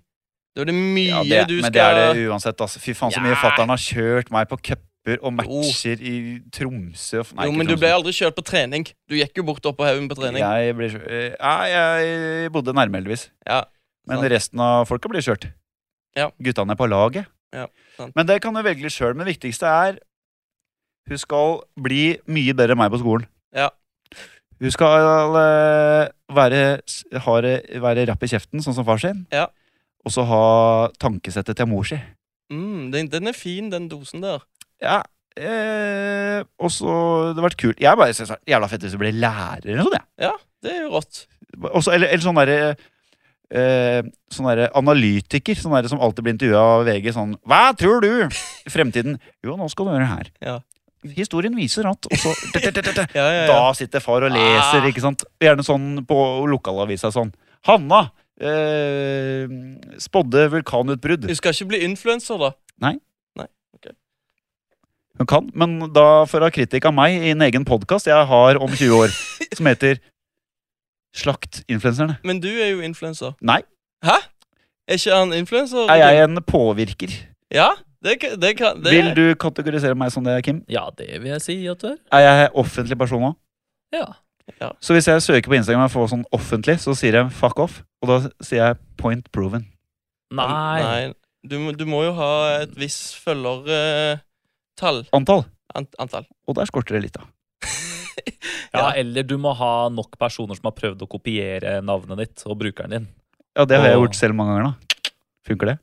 S2: Da er det mye
S1: Ja, det,
S2: du skal
S1: men det er det uansett. Altså. Fy faen, så mye
S2: Ja. Oh.
S1: fatter'n har kjørt meg på cuper og matcher i Tromsø og- Nei,
S2: Jo,
S1: ikke
S2: men du
S1: Tromsø.
S2: ble aldri kjørt på trening. Du gikk jo bort opp på haugen på trening.
S1: Jeg ble kjø- eh, Nei, jeg bodde nærme, heldigvis.
S2: Ja,
S1: men
S2: sant.
S1: resten av folka blir kjørt.
S2: Ja.
S1: Guttene er på laget.
S2: Ja, sant.
S1: men det kan du velge litt sjøl. Men det viktigste er hun skal bli mye bedre enn meg på skolen.
S2: Ja.
S1: Hun skal eh, være, s- ha det- være rapp i kjeften, sånn som far sin.
S2: Ja.
S1: Og så ha tankesettet til mor si.
S2: Mm, den, den er fin, den dosen der.
S1: Ja. Eh, og så Det hadde vært kult. Jeg bare synes det er jævla fett hvis du ble lærer eller noe sånt. jeg.
S2: Ja, det er jo rått.
S1: Også, eller, eller sånn derre eh, sånn derre analytiker sånn derre som alltid blir intervjua av VG sånn Hva tror du? I fremtiden. Jo, nå skal du høre her.
S2: Ja.
S1: Historien viser at Og så
S2: Ja, ja, ja.
S1: Da sitter far og leser,
S2: Ah.
S1: ikke sant? Gjerne sånn på lokalavisa sånn. Hanna eh, spådde vulkanutbrudd.
S2: Du skal ikke bli influenser, da.
S1: Hun kan, men da får hun kritikk av meg i en egen podkast jeg har om 20 år, som heter Slakt influenserne.
S2: Men du er jo influenser.
S1: Nei.
S2: Hæ? Er ikke han influenser?
S1: Er jeg en påvirker?
S2: Ja, det, kan- det kan det.
S1: Vil du kategorisere meg som det, Kim?
S3: Ja, det vil jeg si at du er.
S1: Er jeg offentlig person nå?
S3: Ja.
S1: Så hvis jeg søker på Instagram og får sånn offentlig, så sier jeg fuck off. Og da sier jeg point proven.
S3: Nei.
S2: Du, må- du må jo ha et visst følgertall.
S1: Antall.
S2: Ant, antall.
S1: Og der skorter det litt, da.
S3: Ja, eller du må ha nok personer som har prøvd å kopiere navnet ditt og brukeren din.
S1: Ja, det har jeg
S3: Åh.
S1: gjort selv mange ganger, da. Funker det?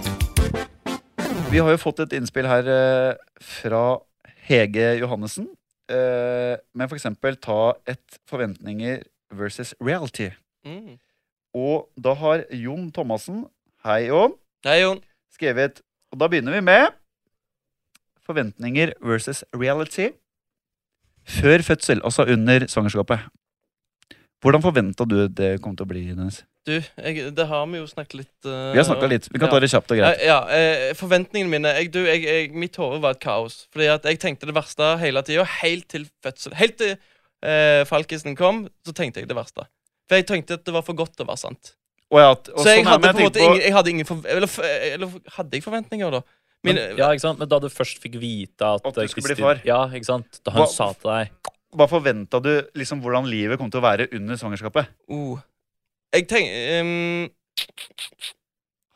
S1: Vi har jo fått et innspill her eh, fra Hege Johannessen. eh, Men for eksempel ta et forventninger versus reality.
S2: Mm.
S1: Og da har Jon Thomassen, hei Jon,
S2: Hei, Jon.
S1: skrevet Og da begynner vi med forventninger versus reality. Før fødsel, altså under svangerskapet. Hvordan forventa du det kom til å bli? Dennis?
S2: Du, jeg, det har vi jo snakket litt eh,
S1: Vi har snakka litt. Vi kan ta det kjapt og greit.
S2: Ja, ja, eh, forventningene mine jeg, du, jeg, jeg, Mitt hode var et kaos. Fordi at jeg tenkte det verste hele tida, helt til fødsel. Helt til eh, Falkisen kom, så tenkte jeg det verste. For jeg tenkte at det var for godt til å være sant.
S1: Og ja, at- og
S2: så jeg
S1: sånn er-
S2: hadde
S1: men
S2: på en måte
S1: tenker
S2: ingen, jeg hadde ingen forve- eller, f- eller hadde jeg forventninger, da?
S3: Men,
S2: Min,
S3: ja, ikke sant? Men da du først fikk vite at,
S1: At du
S3: eh,
S1: skulle bli
S3: Kristin-
S1: far.
S3: Ja, ikke sant? Da hun
S1: Hva-
S3: sa til deg
S1: Hva forventa du liksom hvordan livet kom til å være under svangerskapet?
S2: oh. Jeg tenker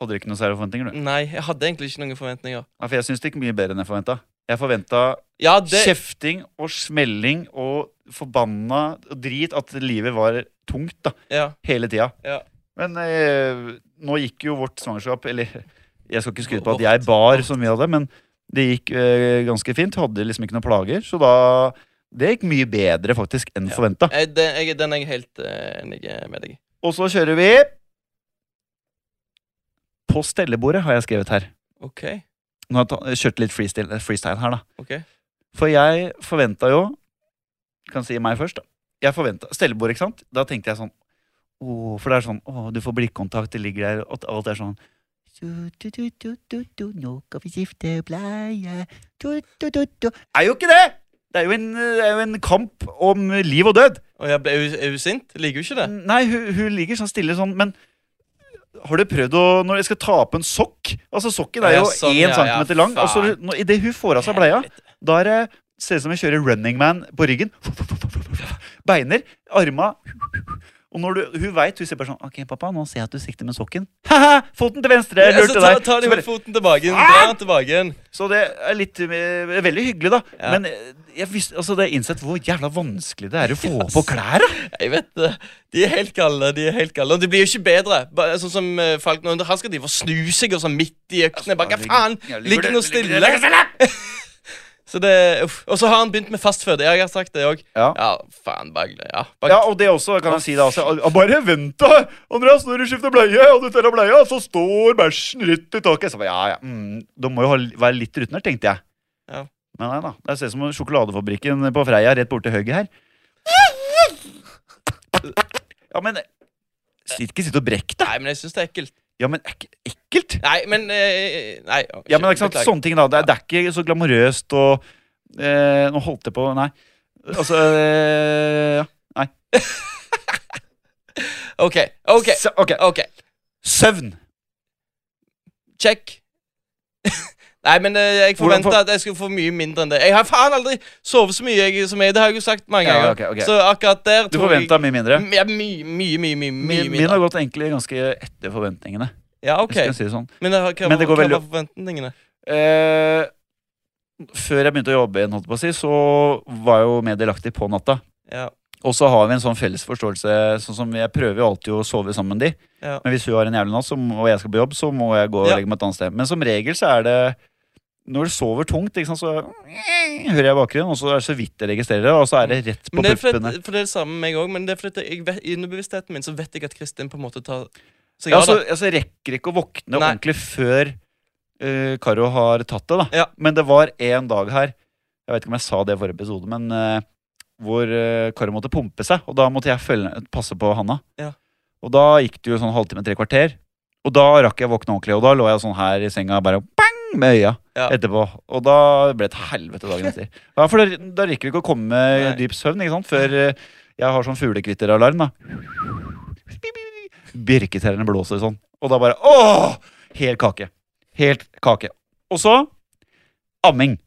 S1: Hadde du ikke noe særlige forventninger, du?
S2: Nei, jeg hadde egentlig ikke noen forventninger.
S1: Nei, for jeg syns det gikk mye bedre enn jeg forventa. Jeg forventa
S2: Ja, det,
S1: kjefting og smelling og forbanna drit at livet var tungt, da.
S2: ja,
S1: Hele tida.
S2: Ja.
S1: Men eh, nå gikk jo vårt svangerskap Eller jeg skal ikke skryte på at jeg bar så mye av det, men det gikk eh, ganske fint. Hadde liksom ikke noen plager. Så da Det gikk mye bedre, faktisk, enn
S2: Ja.
S1: forventa.
S2: jeg, den, jeg, den er jeg helt eh, enig med deg i.
S1: Og så kjører vi På stellebordet har jeg skrevet her
S2: OK.
S1: Nå har jeg ta- kjørt litt freestyle, eh, freestyle her da
S2: ok
S1: For jeg forventet jo Kan si meg først da Jeg forventet, stellebord ikke sant Da tenkte jeg sånn Åh, for det er sånn Åh, du får blikkontakt, det ligger der Og alt er sånn «Du, du, du, du, du, du, Nå kan vi skifte bleie du, du, du, du. Er jo ikke det det er, jo en, det er jo en kamp om liv og død
S2: Og jeg ble, er, hun, er hun sint? Liker hun ikke det?
S1: Nei, hun, hun ligger sånn stille sånn, men har du prøvd å Når jeg skal ta på en sokk Altså, sokken er jo
S2: Ja,
S1: én
S2: sånn, ja, ja,
S1: centimeter lang.
S2: faen.
S1: Altså, når- Idet hun får av seg bleia,
S2: Helvete.
S1: da er det ser det ut som jeg kjører Running Man på ryggen. Beiner, arma Og når du, hun veit Hun ser bare sånn OK, pappa, nå ser jeg at du sikter med sokken. Haha, Foten til venstre! Jeg
S2: Ja, så
S1: lurte
S2: altså, ta,
S1: deg.
S2: ta
S1: Så
S2: de
S1: bare-
S2: med foten tilbake. Dra den tilbake igjen.
S1: så det er litt eh, Veldig hyggelig, da.
S2: Ja.
S1: Men eh, jeg visste, altså, det er innsett hvor jævla vanskelig det er å få på klær. da.
S2: Jeg vet det. De er helt galne. De er helt galne. Og det blir jo ikke bedre. Bare, sånn som eh, Falk nå. Han skal drive og snu seg og sånn midt i øktene. Bare, hva faen?
S1: Ja, ligger du-
S2: Ligg nå
S1: ligger du-
S2: stille. Så det, uff. Og så har han begynt med fastføde. Ja, jeg har sagt det òg.
S1: Ja.
S2: Ja, faen. Bare, ja,
S1: Ja,
S2: bare,
S1: og det også kan jeg si da altså, «Ah, Bare vent da, Andreas, når du skifter bleie Og du teller bleia, så står bæsjen rett i taket Så ba, ja, ja, mm, da må jo ha, være litt rutinert, tenkte jeg
S2: Ja.
S1: Men nei da, det ser ut som sjokoladefabrikken på Freia Rett borte til høyre her Ja, men sitt, Ikke sitt og brekk deg
S2: Nei, men jeg syns det er ekkelt.
S1: Ja, men ek, ekkelt
S2: Nei, men eh, Nei.
S1: Ja, men ikke sant,
S2: beklager.
S1: sånne ting da Det er, det er ikke så glamorøst og eh, Nå holdt jeg på, nei Altså, eh, ja, nei sånn-
S2: OK. OK.
S1: Så- ok,
S2: ok
S1: søvn
S2: Check. Nei, men eh, jeg
S1: Hvordan
S2: forventa at jeg skulle få mye mindre enn det. Jeg har faen aldri sovet så mye jeg, som jeg. Det har jeg jo sagt mange
S1: Ja,
S2: ganger.
S1: ok, ok.
S2: Så akkurat der
S1: Du
S2: tror jeg
S1: forventa mye mindre.
S2: M- Ja, mye, mye, mye, mye, mye
S1: Min, min
S2: mindre.
S1: har gått egentlig ganske etter forventningene.
S2: Ja,
S1: hvis
S2: ok.
S1: jeg skal si det sånn.
S2: Men, det har- hva,
S1: Men det går
S2: hva
S1: veldig-
S2: var forventningene?
S1: Eh, før jeg begynte å jobbe, igjen, holdt jeg på å si, så var jeg jo mer delaktig på natta.
S2: Ja.
S1: Og så har vi en sånn felles forståelse. Sånn som Jeg prøver jo alltid å sove sammen med de.
S2: Ja.
S1: Men hvis hun har en jævlig natt så må- og jeg skal på jobb, så må jeg gå og
S2: Ja.
S1: legge meg et annet sted. Men som regel så er det når du sover tungt, ikke sant, så hører jeg i bakgrunnen, og så er det så vidt jeg registrerer det, og så er det rett på
S2: Men det er fordi,
S1: puppene.
S2: at- for det er det samme med meg òg, men det er fordi at jeg vet, i underbevisstheten min så vet jeg at Kristin på en måte tar seg
S1: Ja,
S2: av
S1: altså,
S2: det.
S1: altså rekker ikke å våkne
S2: Nei.
S1: ordentlig før eh, Karo har tatt det, da.
S2: Ja.
S1: Men det var en dag her, jeg vet ikke om jeg sa det i forrige episode, men eh, hvor eh, Karo måtte pumpe seg, og da måtte jeg følge, passe på Hanna.
S2: Ja.
S1: Og da gikk det jo sånn halvtime, tre kvarter, og da rakk jeg å våkne ordentlig, og da lå jeg sånn her i senga bare bang med øya.
S2: Ja.
S1: Etterpå, Og da ble det et helvete dagen etter. Ja, for da, da rekker du ikke å komme med
S2: Nei.
S1: dyp søvn ikke sant? før eh, jeg har sånn fuglekvitteralarm. da Birketrærne blåser sånn. Og da bare åh! Helt kake. Helt kake. Og så amming.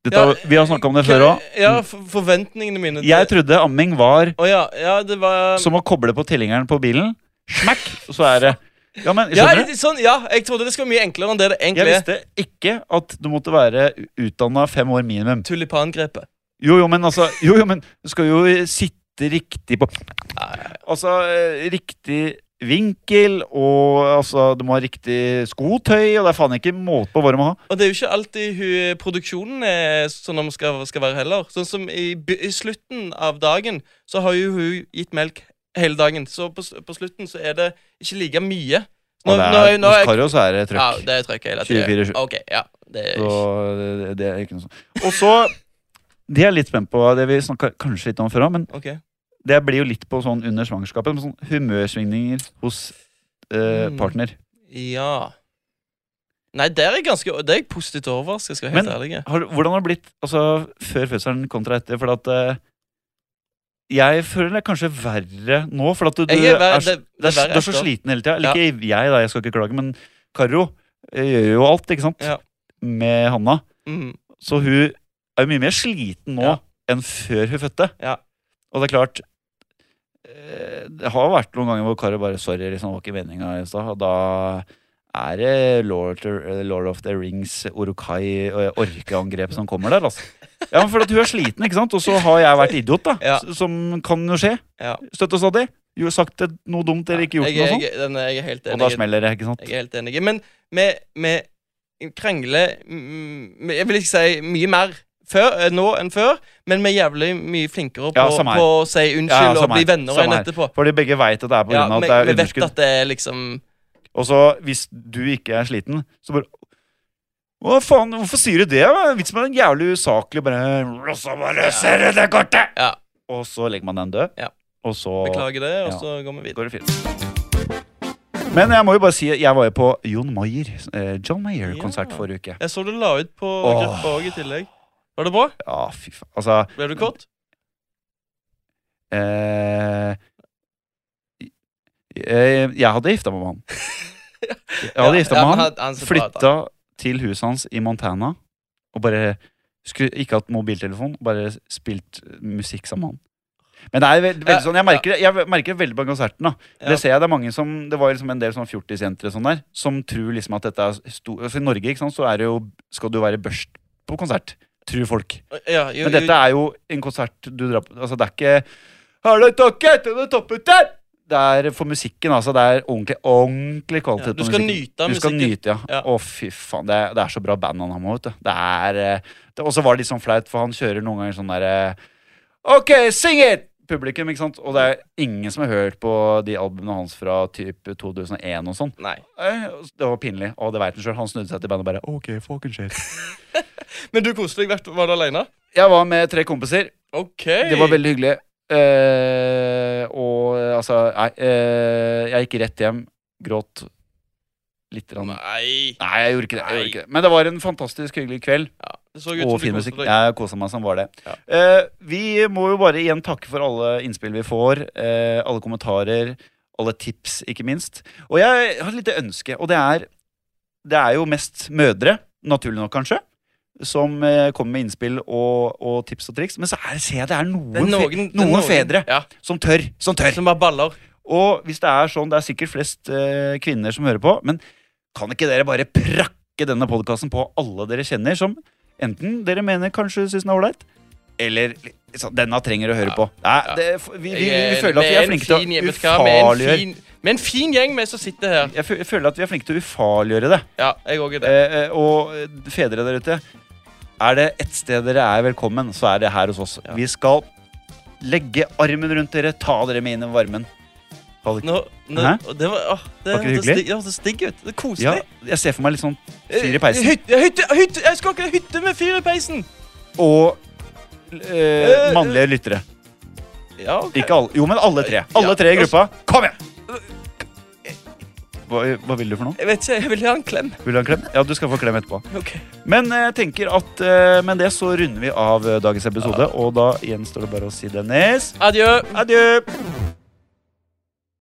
S1: Dette, har- vi har snakka om det før òg.
S2: Ja, for, forventningene mine til-
S1: Jeg trodde amming var
S2: Å ja, ja, det var
S1: som å koble på tilhengeren på bilen. Smack, og så er det Ja, men
S2: ja,
S1: skjønner du?
S2: sånn, ja, jeg trodde det skulle være mye enklere enn det det
S1: Jeg
S2: egentlig er.
S1: visste ikke at du måtte være utdanna fem år minimum.
S2: Tulipangrepet.
S1: Jo, jo, men altså Jo, jo, men du skal jo sitte riktig på Altså, eh, riktig vinkel, og altså, du må ha riktig skotøy, og det er faen ikke måte på hva du må ha.
S2: Og det er jo ikke alltid hun, produksjonen er sånn den skal, skal være heller. Sånn som i, by- i slutten av dagen, så har jo hun gitt melk hele dagen. Så på, s- på slutten så er det ikke like mye.
S1: Og det er, hos Karo så er det
S2: Ja,
S1: trøkk.
S2: det er trøkk
S1: 24-7.
S2: hele tiden. Ok, ja. Det er
S1: Så eh,
S2: ikke
S1: det, det er ikke noe sånt. Og så Det er jeg litt spent på, det vi snakka kanskje litt om før òg, men
S2: Ok.
S1: det blir jo litt på sånn under svangerskapet. med Sånn humørsvingninger hos eh,
S2: Mm.
S1: partner.
S2: Ja. Nei, der er jeg ganske Det er jeg positivt overrasket, skal jeg være helt
S1: Men-
S2: ærlig.
S1: Har, hvordan har det blitt altså, før fødselen kontra etter? For at eh, Jeg føler det er kanskje verre nå, for at du, du
S2: Jeg er, ver-
S1: så-
S2: det,
S1: Det er, du
S2: verre
S1: er så
S2: etter.
S1: sliten hele tida. Eller ikke jeg, da, jeg skal ikke klage, men Karo eh, gjør jo alt, ikke sant?
S2: Ja.
S1: Med Hanna.
S2: Mm.
S1: Så hun er jo mye mer sliten nå
S2: Ja.
S1: enn før hun fødte.
S2: Ja.
S1: Og det er klart eh, Det har vært noen ganger hvor Karo bare Sorry, liksom, det var ikke meninga i stad. Og da er det Lord, eh, Lord of the Rings, Orokai og orkeangrep som kommer der, altså. Ja, men for at hun er sliten, ikke sant? Og så har jeg vært idiot, da.
S2: Ja.
S1: s- Som kan jo skje.
S2: Ja.
S1: Støtt og stadig. Jo, sagt et- noe dumt eller ikke gjort
S2: jeg,
S1: noe sånt.
S2: jeg, den er jeg helt
S1: Og
S2: enig.
S1: da
S2: i.
S1: smeller det, ikke sant?
S2: Jeg er helt enig. Men vi, vi krangler mm, Jeg vil ikke si mye mer før, eh, nå enn før, men vi er jævlig mye flinkere på,
S1: Ja, samme her.
S2: på å si
S1: Ja,
S2: unnskyld og
S1: samme
S2: bli
S1: her.
S2: venner igjen
S1: Samme her.
S2: etterpå.
S1: Fordi begge veit at det er pga.
S2: Ja,
S1: grunn av
S2: vi,
S1: at det er
S2: vi vet
S1: underskudd.
S2: at det er liksom
S1: Og så hvis du ikke er sliten, så bare Hva faen, hvorfor sier du det? da? Vits med den jævlig usaklige bare Og så bare ser du det kortet!
S2: Ja.
S1: Og så legger man den død,
S2: Ja.
S1: og så
S2: Beklager det, og
S1: Ja.
S2: så går vi videre.
S1: går det fint. Men jeg må jo bare si jeg var jo på Jon Maier, eh, John Maier-konsert
S2: Ja.
S1: forrige uke.
S2: Jeg så du la ut på
S1: Åh.
S2: gruppa òg i tillegg. Var det bra?
S1: Ja, fy faen. Altså
S2: Ble du kåt?
S1: eh, jeg, jeg hadde gifta meg med han. Jeg hadde gifta meg med han. Flytta til huset hans i Montana og bare skulle ikke hatt mobiltelefon, bare spilt musikk sammen med han. Men det er veld, veldig sånn, jeg merker, det- jeg merker det veldig på konserten. da
S2: Ja.
S1: Det ser jeg, det er mange som Det var liksom en del sånn fjortisjenter og sånn der som tror liksom at dette er stor altså I Norge ikke sant, så er det jo skal du være børst på konsert, tror folk.
S2: Ja, jo,
S1: Men dette er jo en konsert du drar på Altså, det er ikke Har du takket til det toppet der? Det er for musikken, altså. Det er ordentlig, ordentlig kvalitet
S2: Ja, du
S1: på
S2: skal
S1: musikken.
S2: nyte av
S1: Du skal
S2: musikken.
S1: nyte, ja.
S2: Ja.
S1: Å, fy faen. Det, er- det er så bra band han har med, vet du. Det er eh, det- Og så var det litt sånn flaut, for han kjører noen ganger sånn derre OK, sing it! Publikum, ikke sant? Og det er ingen som har hørt på de albumene hans fra typ 2001 og sånn.
S2: Nei.
S1: Eh, Det var pinlig, og det veit han sjøl. Han snudde seg til bandet og bare OK, fucking shit.
S2: Men du koste deg, vet du. Var du aleine?
S1: Jeg var med tre kompiser.
S2: OK.
S1: Det var veldig hyggelig. Eh, og eh, altså Nei, eh, jeg gikk rett hjem. Gråt litt. Rann.
S2: Nei.
S1: Nei, jeg gjorde ikke det. Jeg gjorde ikke det. Men det var en fantastisk hyggelig kveld.
S2: Ja, det så ut som
S1: Og
S2: du
S1: fin
S2: koste
S1: musikk.
S2: deg.
S1: Jeg kosa meg som var det.
S2: Ja.
S1: Eh, vi må jo bare igjen takke for alle innspill vi får, eh, alle kommentarer, alle tips, ikke minst. Og jeg har et lite ønske, og det er Det er jo mest mødre, naturlig nok kanskje, som eh, kommer med innspill og, og tips og triks. Men så er, ser jeg det er noen,
S2: Det er
S1: fe-
S2: noen, det er
S1: noen fedre
S2: Ja,
S1: som tør. Som tør.
S2: som bare baller.
S1: Og hvis det er sånn, det er sikkert flest eh, kvinner som hører på, men kan ikke dere bare prakke denne podkasten på alle dere kjenner som enten dere mener kanskje syns den er ålreit, eller så Denne trenger du å høre på. Nei, det, vi, vi, vi
S2: Jeg er-
S1: føler at vi
S2: med
S1: er
S2: en
S1: flinke til
S2: fin-
S1: å
S2: jeg vet hva, med en
S1: ufarliggjøre
S2: fin- Med en fin gjeng vi som sitter her.
S1: Jeg fø- jeg føler at vi er flinke til å ufarliggjøre det.
S2: Ja, jeg òg er det.
S1: Eh, eh, og eh, fedre der ute, er det ett sted dere er velkommen, så er det her hos oss. Vi skal legge armen rundt dere, ta dere med inn i varmen. Ha det-
S2: Nå, nå,
S1: Hæ?
S2: det var, åh, det,
S1: Var ikke det
S2: det
S1: hyggelig?
S2: stig- ja, det stigg ut. Det er
S1: Ja,
S2: koselig.
S1: jeg ser for meg litt sånn
S2: Eh,
S1: fyr i peisen.
S2: Hytte, hytte, hytte, jeg skal ikke ha hytte med fyr i peisen!
S1: Og eh,
S2: Eh,
S1: mannlige lyttere.
S2: Ja, ok.
S1: Ikke alle. Jo, men alle tre. Alle
S2: Ja, altså.
S1: tre i
S2: og
S1: gruppa. Kom igjen! Hva, hva vil du for noe?
S2: Jeg vet ikke, jeg vil ha en klem.
S1: Vil du ha en klem? Ja, du skal få klem etterpå.
S2: Ok.
S1: Men jeg tenker at eh, med det så runder vi av eh, dagens episode, og da gjenstår det bare å si Dennis
S2: Adjø.
S1: adjø.